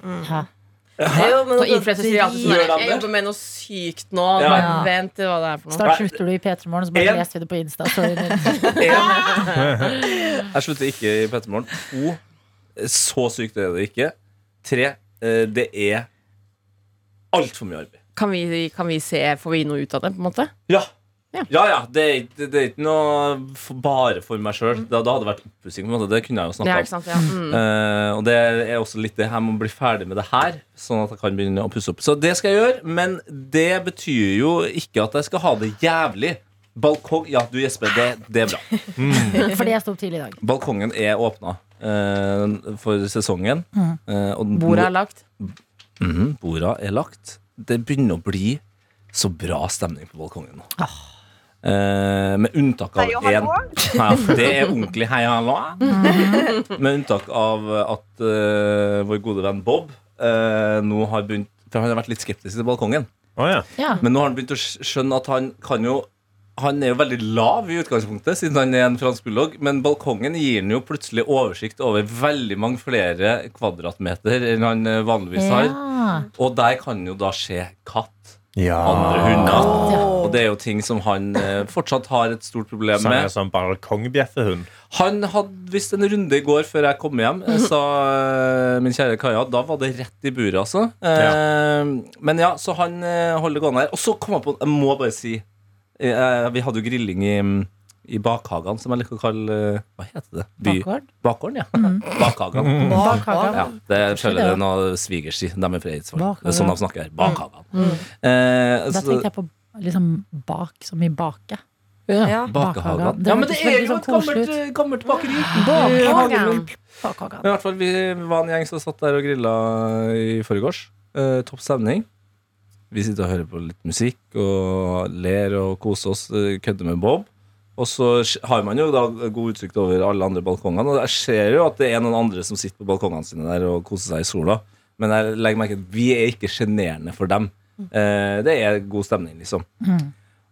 Speaker 3: Jo, men
Speaker 7: Og influenser sier alltid sånn
Speaker 5: Gjør
Speaker 7: der,
Speaker 5: de
Speaker 7: Jeg
Speaker 5: det?
Speaker 7: jobber med noe sykt nå.
Speaker 5: Ja.
Speaker 7: Bare vent til hva det er for noe.
Speaker 2: Snart slutter du i P3 Morgen, så bare
Speaker 5: En.
Speaker 2: leser vi det på Insta. Sorry.
Speaker 5: En. Jeg slutter ikke i P3 Morgen. To. Så sykt er det ikke. Tre. eh, Det er altfor mye arbeid.
Speaker 7: Kan vi, kan vi se, Får vi noe ut av det? på en måte?
Speaker 5: Ja. Ja, ja, det er, ikke- det er ikke noe f- bare for meg sjøl. Da, da hadde det vært oppussing. på en måte. Det kunne jeg jo
Speaker 7: Ja,
Speaker 5: snakka om.
Speaker 7: ikke sant? Ja. Mm.
Speaker 5: Eh, og det er også litt det her med å bli ferdig med det her, sånn at jeg kan begynne å pusse opp. Så det skal jeg gjøre, men det betyr jo ikke at jeg skal ha det jævlig. Balkong Ja, du gjesper. Det, det er bra.
Speaker 2: Fordi jeg sto opp tidlig i dag.
Speaker 5: Balkongen er åpna eh, for sesongen. Eh, og nå-
Speaker 7: Mm. Bordet er lagt.
Speaker 5: Mhm, borda er lagt. Det begynner å bli så bra stemning på balkongen nå. Eh, med unntak av
Speaker 4: Hei og
Speaker 5: én
Speaker 4: hallo.
Speaker 5: ja, Det er ordentlig hei og hallo.
Speaker 7: Mhm.
Speaker 5: Med unntak av at eh, vår gode venn Bob eh, nå har begynt For han har vært litt skeptisk til balkongen.
Speaker 6: Å ja.
Speaker 2: Ja.
Speaker 5: Men nå har han begynt å skj- skjønne at han kan jo han er jo veldig lav i utgangspunktet, siden han er en fransk bulldog, men balkongen gir han jo plutselig oversikt over veldig mange flere kvadratmeter enn han eh, vanligvis har.
Speaker 2: Ja.
Speaker 5: Og der kan jo da skje katt,
Speaker 6: ja.
Speaker 5: andre hunder.
Speaker 2: ja.
Speaker 5: Og det er jo ting som han eh, fortsatt har et stort problem
Speaker 6: Så han er
Speaker 5: med.
Speaker 6: sånn balkongbjeffehund.
Speaker 5: Han hadde visst en runde i går før jeg kom hjem,
Speaker 2: Mhm.
Speaker 5: eh, sa eh, min kjære Kaja. Da var det rett i buret, altså. Eh, Men ja, så han eh, holder gående her. Og så kom jeg på Jeg må bare si eh, Vi hadde jo grilling i, i bakhagen, som jeg liker å kalle eh, Hva heter det? By-
Speaker 2: Bakgård? Mhm.
Speaker 5: Bakgården, ja. Bakhagen.
Speaker 2: Bakhagen.
Speaker 5: Ja, det jeg
Speaker 2: det,
Speaker 5: føler
Speaker 2: ja.
Speaker 5: jeg er noe svigers i. De er fra Eidsvoll.
Speaker 2: Bakhagen.
Speaker 5: Det er
Speaker 2: Mhm.
Speaker 5: sånn de snakker her. Bakhagen. Eh,
Speaker 2: Da
Speaker 5: så-
Speaker 2: tenkte jeg på liksom bak, som i bake.
Speaker 5: Ja,
Speaker 2: Bakhagen.
Speaker 5: Bakhagen.
Speaker 2: Det
Speaker 5: Ja, men det
Speaker 2: hørtes
Speaker 5: er
Speaker 2: veldig
Speaker 5: jo
Speaker 2: sånn
Speaker 5: et gammelt, eh,
Speaker 2: koselig
Speaker 5: gammelt bakeri.
Speaker 2: Bakhagen.
Speaker 5: Men i hvert fall, vi var en gjeng som satt der og grilla i forgårs. Eh, topp stemning. Vi sitter og hører på litt musikk og ler og koser oss, eh, kødder med Bob. Og så sk- har man jo da god utsikt over alle andre balkongene, og jeg ser jo at det er noen andre som sitter på balkongene sine der og koser seg i sola, men jeg legger merke til at vi er ikke sjenerende for dem. Eh, det er god stemning, liksom.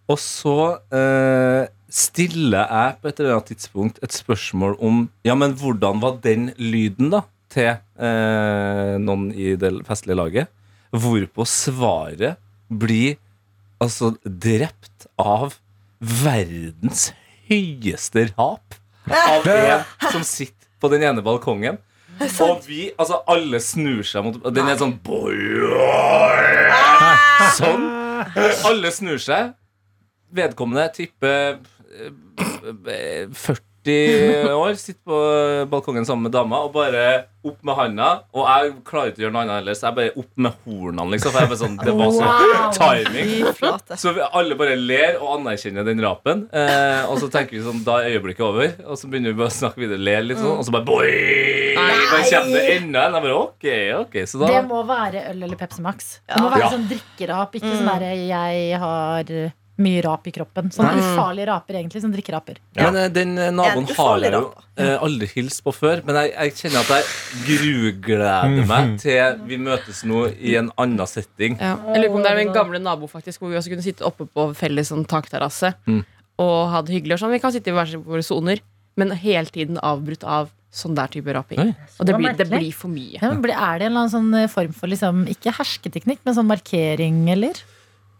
Speaker 5: Og så eh, stiller jeg på et eller annet tidspunkt et spørsmål om Ja, men hvordan var den lyden, da? Til eh, noen i det festlige laget. Hvorpå svaret blir altså drept av verdens høyeste rap av en som sitter på den ene balkongen. Og vi, altså alle snur seg mot Den er sånn Sånn. Alle snur seg. Vedkommende tipper eh, 40 år, sitter på balkongen sammen med dama og bare opp med handa. Og jeg klarer ikke å gjøre noe annet heller, så jeg bare opp med hornene, liksom. For jeg bare sånn, det var sånn timing.
Speaker 3: Flate.
Speaker 5: Så vi alle bare ler og anerkjenner den rapen. Eh, og så tenker vi sånn, da er øyeblikket over. Og så begynner vi bare å snakke videre, le litt sånn, og så bare boing! Bare kommer det enda en. Jeg bare, ok, ok. Så da,
Speaker 2: Det må være øl eller Pepsi Max. Det må være
Speaker 5: Ja.
Speaker 2: sånn drikkerap,
Speaker 7: Mm.
Speaker 2: ikke sånn derre jeg har eh, mye rap i kroppen. Sånne
Speaker 5: Mm.
Speaker 2: ufarlige raper, egentlig. Sånn drikkeraper.
Speaker 5: Men eh, den eh, naboen
Speaker 3: En
Speaker 5: har
Speaker 3: ufarlig
Speaker 5: jeg jo eh, aldri hilst på før. Men jeg, jeg kjenner at jeg grugleder meg til vi møtes nå i en annen setting.
Speaker 7: Ja. Jeg lurer på om det er min gamle nabo faktisk hvor vi også kunne sitte oppe på felles sånn, takterrasse
Speaker 5: Mm.
Speaker 7: og ha det hyggelig. og sånn. Vi kan sitte i hver sin- våre soner, men hele tiden avbrutt av sånn der type rapping.
Speaker 5: Oi.
Speaker 7: Og det
Speaker 2: Så
Speaker 7: blir, det
Speaker 2: merkelig.
Speaker 7: blir for mye.
Speaker 2: Ja, men blir- er det en eller annen sånn eh, form for liksom, ikke hersketeknikk, men sånn markering, eller?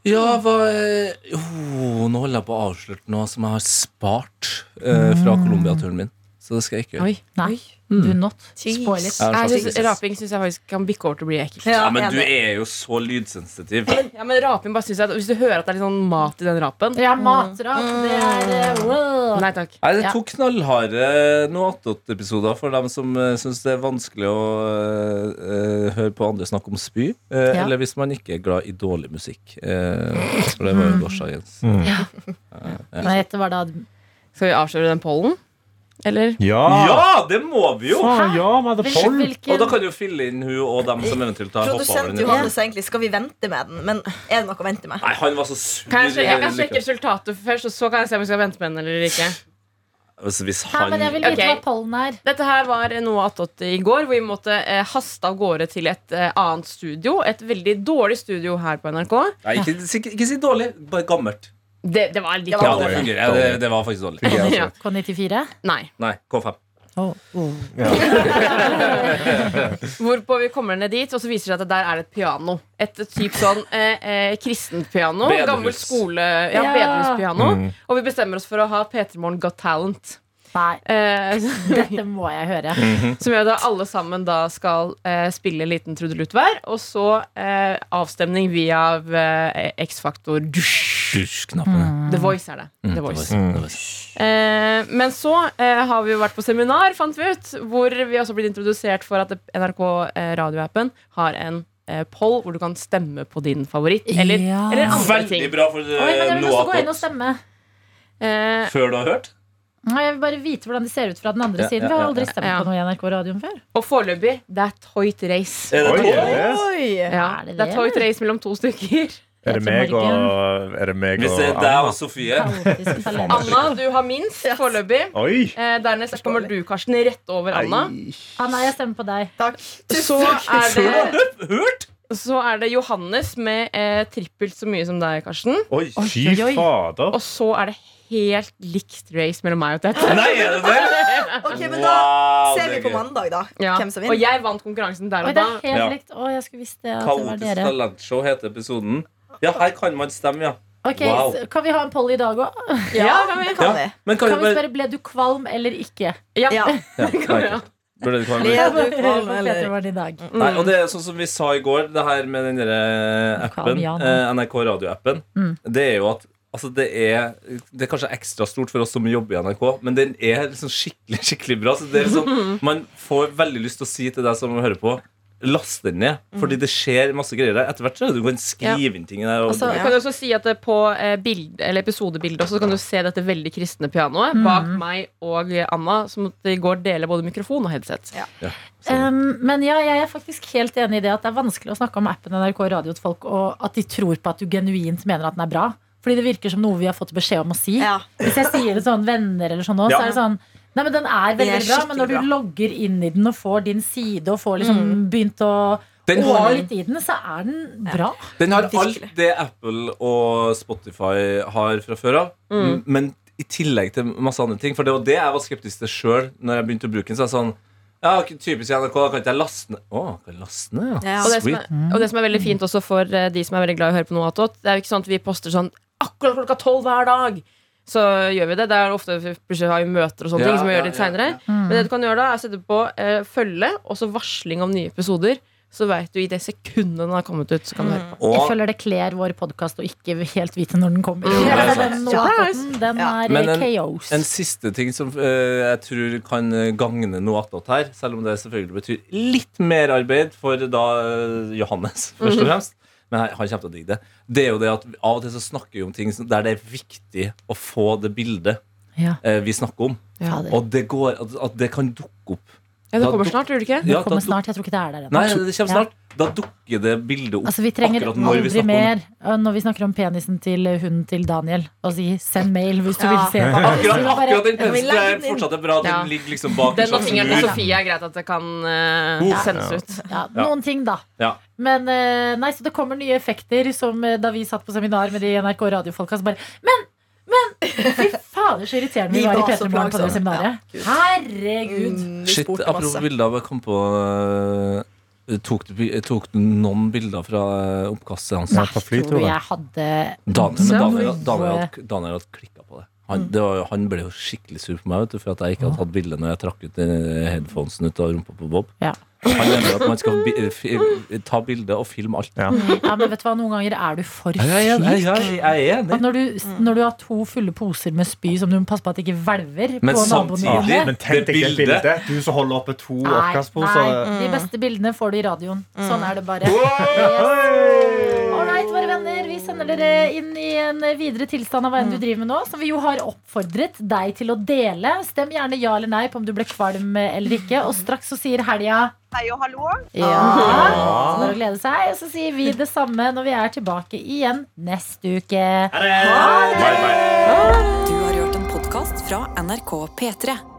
Speaker 5: Ja, hva eh, oh, Nå holder jeg på å avsløre noe som jeg har spart eh, fra Colombia-turen min. Så det skal jeg ikke gjøre.
Speaker 7: Oi. Mm.
Speaker 2: Nei.
Speaker 5: Mm.
Speaker 2: Do not spoil it.
Speaker 5: Jeg er en
Speaker 7: Jeg
Speaker 5: slags
Speaker 7: synes,
Speaker 5: prinsesse.
Speaker 7: raping syns jeg faktisk kan bikke over til å bli ekkelt.
Speaker 5: Ja, men du er jo så lydsensitiv.
Speaker 7: Ja, men raping bare synes jeg at Hvis du hører at det er litt sånn mat i den rapen
Speaker 2: Ja, matrap. Det er
Speaker 7: Mm.
Speaker 2: eh, wow.
Speaker 7: Nei takk.
Speaker 5: Nei, det
Speaker 2: Ja.
Speaker 5: er to knallharde Noatot-episoder for dem som uh, syns det er vanskelig å eh, eh, høre på andre snakke om spy. eh,
Speaker 2: Ja.
Speaker 5: Eller hvis man ikke er glad i dårlig musikk. Eh, for det var jo gårsdagens.
Speaker 2: Nei, dette var da
Speaker 7: Skal vi avsløre den pollen? Eller?
Speaker 6: Ja!
Speaker 5: Ja, det må vi jo!
Speaker 6: Faen, ja, vi hadde
Speaker 2: Hvilken-
Speaker 5: Og
Speaker 6: poll!
Speaker 5: da
Speaker 2: hvilken-
Speaker 5: kan du jo fylle inn hun og dem som eventuelt har hoppa over
Speaker 3: Produsent
Speaker 5: den.
Speaker 3: Johannes sa egentlig skal vi vente med den, men er det noe å vente med?
Speaker 5: Nei, han var så sur.
Speaker 7: Kan jeg, sjekke- jeg kan
Speaker 5: i hele
Speaker 7: sjekke resultatet først, og så kan jeg se om vi skal vente med den eller ikke.
Speaker 5: Altså, hvis
Speaker 2: Nei,
Speaker 5: han
Speaker 2: men jeg vil vite
Speaker 7: Ok.
Speaker 2: hva pollen er.
Speaker 7: Dette her var noe attåt i går, hvor vi måtte eh, haste av gårde til et eh, annet studio. Et veldig dårlig studio her på NRK.
Speaker 5: Nei, ikke, ikke, ikke si dårlig, bare gammelt.
Speaker 7: Det, det var altså. litt
Speaker 5: Ja, det
Speaker 7: dårlig.
Speaker 5: fungerer. Ja, det, det var faktisk dårlig.
Speaker 7: Ja.
Speaker 2: K94.
Speaker 7: Nei.
Speaker 5: Nei, K5.
Speaker 2: Oh.
Speaker 7: Hvorpå vi kommer ned dit, og så viser det seg at der er det et piano. Et typ sånn eh, eh, kristent piano.
Speaker 5: Bedehus.
Speaker 7: Gammel skole... Ja,
Speaker 2: Ja.
Speaker 7: bedehuspiano. Og vi bestemmer oss for å ha P3 Morgen Got Talent.
Speaker 2: Nei,
Speaker 7: Eh,
Speaker 2: dette må jeg høre.
Speaker 7: Som gjør at alle sammen da skal eh, spille en liten trudelutt hver, og så eh, avstemning via eh, X-faktor. Dusj.
Speaker 5: Knappene.
Speaker 7: The Voice er det.
Speaker 5: Mm,
Speaker 7: The
Speaker 5: det var-
Speaker 7: Voice.
Speaker 5: det var-
Speaker 7: Eh, men så eh, har vi jo vært på seminar, fant vi ut, hvor vi også blitt introdusert for at NRK eh, radioappen har en eh, poll hvor du kan stemme på din favoritt. Eller,
Speaker 2: Ja.
Speaker 7: eller andre ting.
Speaker 5: Veldig bra for
Speaker 2: Oi, men jeg
Speaker 5: eh,
Speaker 2: vil også gå
Speaker 5: Noah
Speaker 2: inn og stemme.
Speaker 7: Eh,
Speaker 5: før du har hørt.
Speaker 2: Nei, Jeg vil bare vite hvordan de ser ut fra den andre
Speaker 5: Ja,
Speaker 2: siden.
Speaker 5: ja,
Speaker 2: Vi har
Speaker 5: ja,
Speaker 2: aldri
Speaker 5: ja.
Speaker 2: stemt
Speaker 7: Ja.
Speaker 2: på noe i NRK-radioen før.
Speaker 7: og foreløpig, det er Toit Race.
Speaker 5: Er det
Speaker 6: Oi,
Speaker 5: tolv?
Speaker 6: yes.
Speaker 3: Oi.
Speaker 7: Ja,
Speaker 2: Er det
Speaker 7: det
Speaker 2: det,
Speaker 7: er Toit Race mellom to stykker.
Speaker 6: Er det meg og Er det meg
Speaker 5: Hvis det er
Speaker 6: og
Speaker 5: deg og Sofie
Speaker 2: Kaotisk talent.
Speaker 7: Anna, du har minst foreløpig.
Speaker 6: Oi!
Speaker 7: Eh, dernest kommer du, Karsten, rett over Anna.
Speaker 2: Anna, jeg stemmer på deg.
Speaker 3: Takk.
Speaker 7: Så er det,
Speaker 5: Hørt?
Speaker 7: så er det Johannes med eh, trippelt så mye som deg, Karsten.
Speaker 6: Oi, fy
Speaker 2: oi, oi.
Speaker 6: fader.
Speaker 7: Og så er det helt likt race mellom meg og Tete.
Speaker 5: Nei, er det det?
Speaker 3: Ok, men da ser vi på
Speaker 5: mandag.
Speaker 3: mandag, da.
Speaker 7: Ja.
Speaker 3: Hvem som
Speaker 7: Og
Speaker 3: vinner.
Speaker 7: jeg vant konkurransen der
Speaker 2: Oi, det
Speaker 7: og da.
Speaker 2: er helt
Speaker 5: Ja.
Speaker 2: likt. Å, jeg skulle visst det. At det var
Speaker 5: Kaotisk
Speaker 2: dere.
Speaker 5: talentshow heter episoden. Ja, her kan man stemme, ja.
Speaker 2: Ok,
Speaker 5: Wow.
Speaker 2: så Kan vi ha en poll i dag òg?
Speaker 7: Ja, kan vi?
Speaker 3: Kan
Speaker 5: Ja.
Speaker 3: vi?
Speaker 5: Men kan,
Speaker 2: Kan vi
Speaker 5: vi bare
Speaker 2: spørre ble du kvalm eller ikke?
Speaker 3: Ja.
Speaker 5: ja,
Speaker 7: Ja.
Speaker 5: nei, Burde det kvalme?
Speaker 3: Er du
Speaker 2: Hør
Speaker 3: kvalm,
Speaker 2: på
Speaker 3: eller?
Speaker 2: Petermorgen i dag.
Speaker 5: Nei, og det er sånn som vi sa i går, det her med den derre appen,
Speaker 2: Kvalm, ja, nå.
Speaker 5: eh, NRK Radio-appen,
Speaker 2: Mm.
Speaker 5: det er jo at Altså det, er, det er kanskje ekstra stort for oss som jobber i NRK, men den er liksom skikkelig skikkelig bra. Så det er liksom, Man får veldig lyst til å si til deg som hører på, last den ned. Fordi det skjer masse greier der. Etter hvert så er det du kan skrive inn ting der. Og,
Speaker 7: Så kan du også si at det på eh, bild, eller episodebildet også, så kan du se dette veldig kristne pianoet bak
Speaker 2: Mhm.
Speaker 7: meg og Anna, som i går deler både mikrofon og headset.
Speaker 5: Sånn.
Speaker 2: Um, men ja, jeg er faktisk helt enig i det at det er vanskelig å snakke om appen NRK Radio til folk, og at de tror på at du genuint mener at den er bra. Fordi det virker som noe vi har fått beskjed om å si.
Speaker 3: Ja.
Speaker 2: Hvis jeg sier det sånn venner eller sånn nå,
Speaker 5: Ja.
Speaker 2: så er det sånn Nei, men den er
Speaker 3: Den er
Speaker 2: veldig bra, men når du
Speaker 3: skikkelig bra.
Speaker 2: logger inn i den og får din side og får liksom begynt å
Speaker 5: Den
Speaker 2: gå
Speaker 5: har-
Speaker 2: litt i den, så er den bra.
Speaker 5: Den har
Speaker 3: Virkelig.
Speaker 5: alt det Apple og Spotify har fra før av. m- Men i tillegg til masse andre ting. For det var det jeg var skeptisk til sjøl når jeg begynte å bruke den. Så jeg sånn ja, ok, typisk i NRK, da kan ikke jeg laste ned Å, kan jeg laste ned, ja.
Speaker 3: Ja.
Speaker 7: Og det, som
Speaker 5: Sweet.
Speaker 7: er, og det som er veldig fint også for eh, de som er veldig glad i å høre på noe attåt, det er jo ikke sånn at vi poster sånn akkurat klokka tolv hver dag. Så gjør vi det. Det er ofte plutselig har vi møter og sånne
Speaker 5: Ja,
Speaker 7: ting som vi
Speaker 5: ja,
Speaker 7: gjør litt
Speaker 5: ja,
Speaker 7: senere.
Speaker 5: ja.
Speaker 7: Men det du kan gjøre da, er å sette på eh, følge og så varsling om nye episoder. Så veit du i det sekundet den har kommet ut, så kan du høre på.
Speaker 2: Jeg
Speaker 5: Og,
Speaker 2: føler det kler vår podkast å ikke helt vite når den kommer.
Speaker 5: Mm, det er
Speaker 2: Altså,
Speaker 5: sant.
Speaker 2: den,
Speaker 7: Surprise!
Speaker 2: notaten, den
Speaker 3: Ja.
Speaker 2: er
Speaker 5: Men en-
Speaker 2: kaos.
Speaker 5: en siste ting som eh, jeg tror kan eh, gagne noe attåt her, selv om det selvfølgelig betyr litt mer arbeid for da eh, Johannes, først og fremst. Men han han kommer til å digge det. Det er jo det at Av og til så snakker vi om ting som- der det er viktig å få det bildet
Speaker 2: Ja.
Speaker 5: eh, vi snakker om.
Speaker 2: Fader.
Speaker 5: Og det går, at, at det kan dukke opp.
Speaker 7: Ja, det
Speaker 5: Da
Speaker 7: kommer
Speaker 5: duk-
Speaker 7: snart, gjør det ikke?
Speaker 5: Ja,
Speaker 2: Den
Speaker 5: da,
Speaker 2: kommer
Speaker 5: duk-
Speaker 2: snart. Jeg tror ikke det er der ennå.
Speaker 5: nei, det kommer snart. Da dukker det bildet opp.
Speaker 2: Altså, vi trenger
Speaker 5: akkurat når vi
Speaker 2: aldri
Speaker 5: snakker om
Speaker 2: mer uh, når vi snakker om penisen til uh, hunden til Daniel. Og si 'send mail' hvis du vil
Speaker 3: Ja.
Speaker 2: se. Så
Speaker 5: Akkurat,
Speaker 2: vi bare-
Speaker 5: akkurat den
Speaker 3: vi
Speaker 5: pensen
Speaker 3: legger
Speaker 5: er
Speaker 3: den inn?
Speaker 5: fortsatt bra. Den
Speaker 7: Ja.
Speaker 5: ligger liksom bak en
Speaker 7: Den og
Speaker 5: slags
Speaker 7: fingeren til
Speaker 5: mur.
Speaker 7: Sofie er greit at det kan eh,
Speaker 5: Uff.
Speaker 7: sendes ut.
Speaker 2: ja, noen ting, da.
Speaker 5: Ja.
Speaker 2: Men uh, nei, så det kommer nye effekter, som uh, da vi satt på seminar med de NRK radiofolka, så bare Men! Men! Fy fader, så irriterende vi
Speaker 3: Vi
Speaker 2: var i
Speaker 3: var så
Speaker 2: P3 Morgen på det
Speaker 3: plagsomme.
Speaker 2: seminaret. Herregud.
Speaker 3: Mm, vi
Speaker 5: Shit,
Speaker 3: spurte
Speaker 5: apropos
Speaker 3: masse.
Speaker 5: bilder. Jeg kom på eh, tok, du, bi- tok du noen bilder fra eh, oppkastet hans?
Speaker 6: Nei. på flytur,
Speaker 2: tror du
Speaker 6: da.
Speaker 2: jeg hadde
Speaker 5: Daniel, men Daniel,
Speaker 2: Noe-
Speaker 5: Daniel, hadde- Daniel hadde klikka på det. Han, det var, han ble jo skikkelig sur på meg vet du, for at jeg ikke hadde tatt bilde når jeg trakk ut eh, headphonesen ut av rumpa på Bob.
Speaker 2: Ja.
Speaker 5: Han mener at man skal bi fi ta bilde og filme alt.
Speaker 6: Ja.
Speaker 2: Ja, men vet du hva, noen ganger er du for
Speaker 5: Jeg, jeg,
Speaker 2: syk.
Speaker 5: jeg, jeg, jeg er
Speaker 2: At
Speaker 5: enig.
Speaker 2: når du, når du har to fulle poser med spy som du må passe på at ikke hvelver
Speaker 5: Men
Speaker 2: på naboen
Speaker 5: samtidig-
Speaker 2: hjemme.
Speaker 6: Men tenk deg det
Speaker 5: Det bildet.
Speaker 6: bildet. Du som holder oppe to
Speaker 2: Nei,
Speaker 6: oppkastposer.
Speaker 2: nei, de beste bildene får du i radioen. Sånn er det bare. Alright, våre venner, vi sender dere inn i en videre tilstand av hva enn du driver med nå, som vi jo har oppfordret deg til å dele. Stem gjerne ja eller nei på om du ble kvalm eller ikke, og straks så sier helga
Speaker 4: Hei og hallo.
Speaker 2: ja. Så bare å glede seg, og så sier vi det samme når vi er tilbake igjen neste uke.
Speaker 1: Du har hørt en podkast fra NRK P3.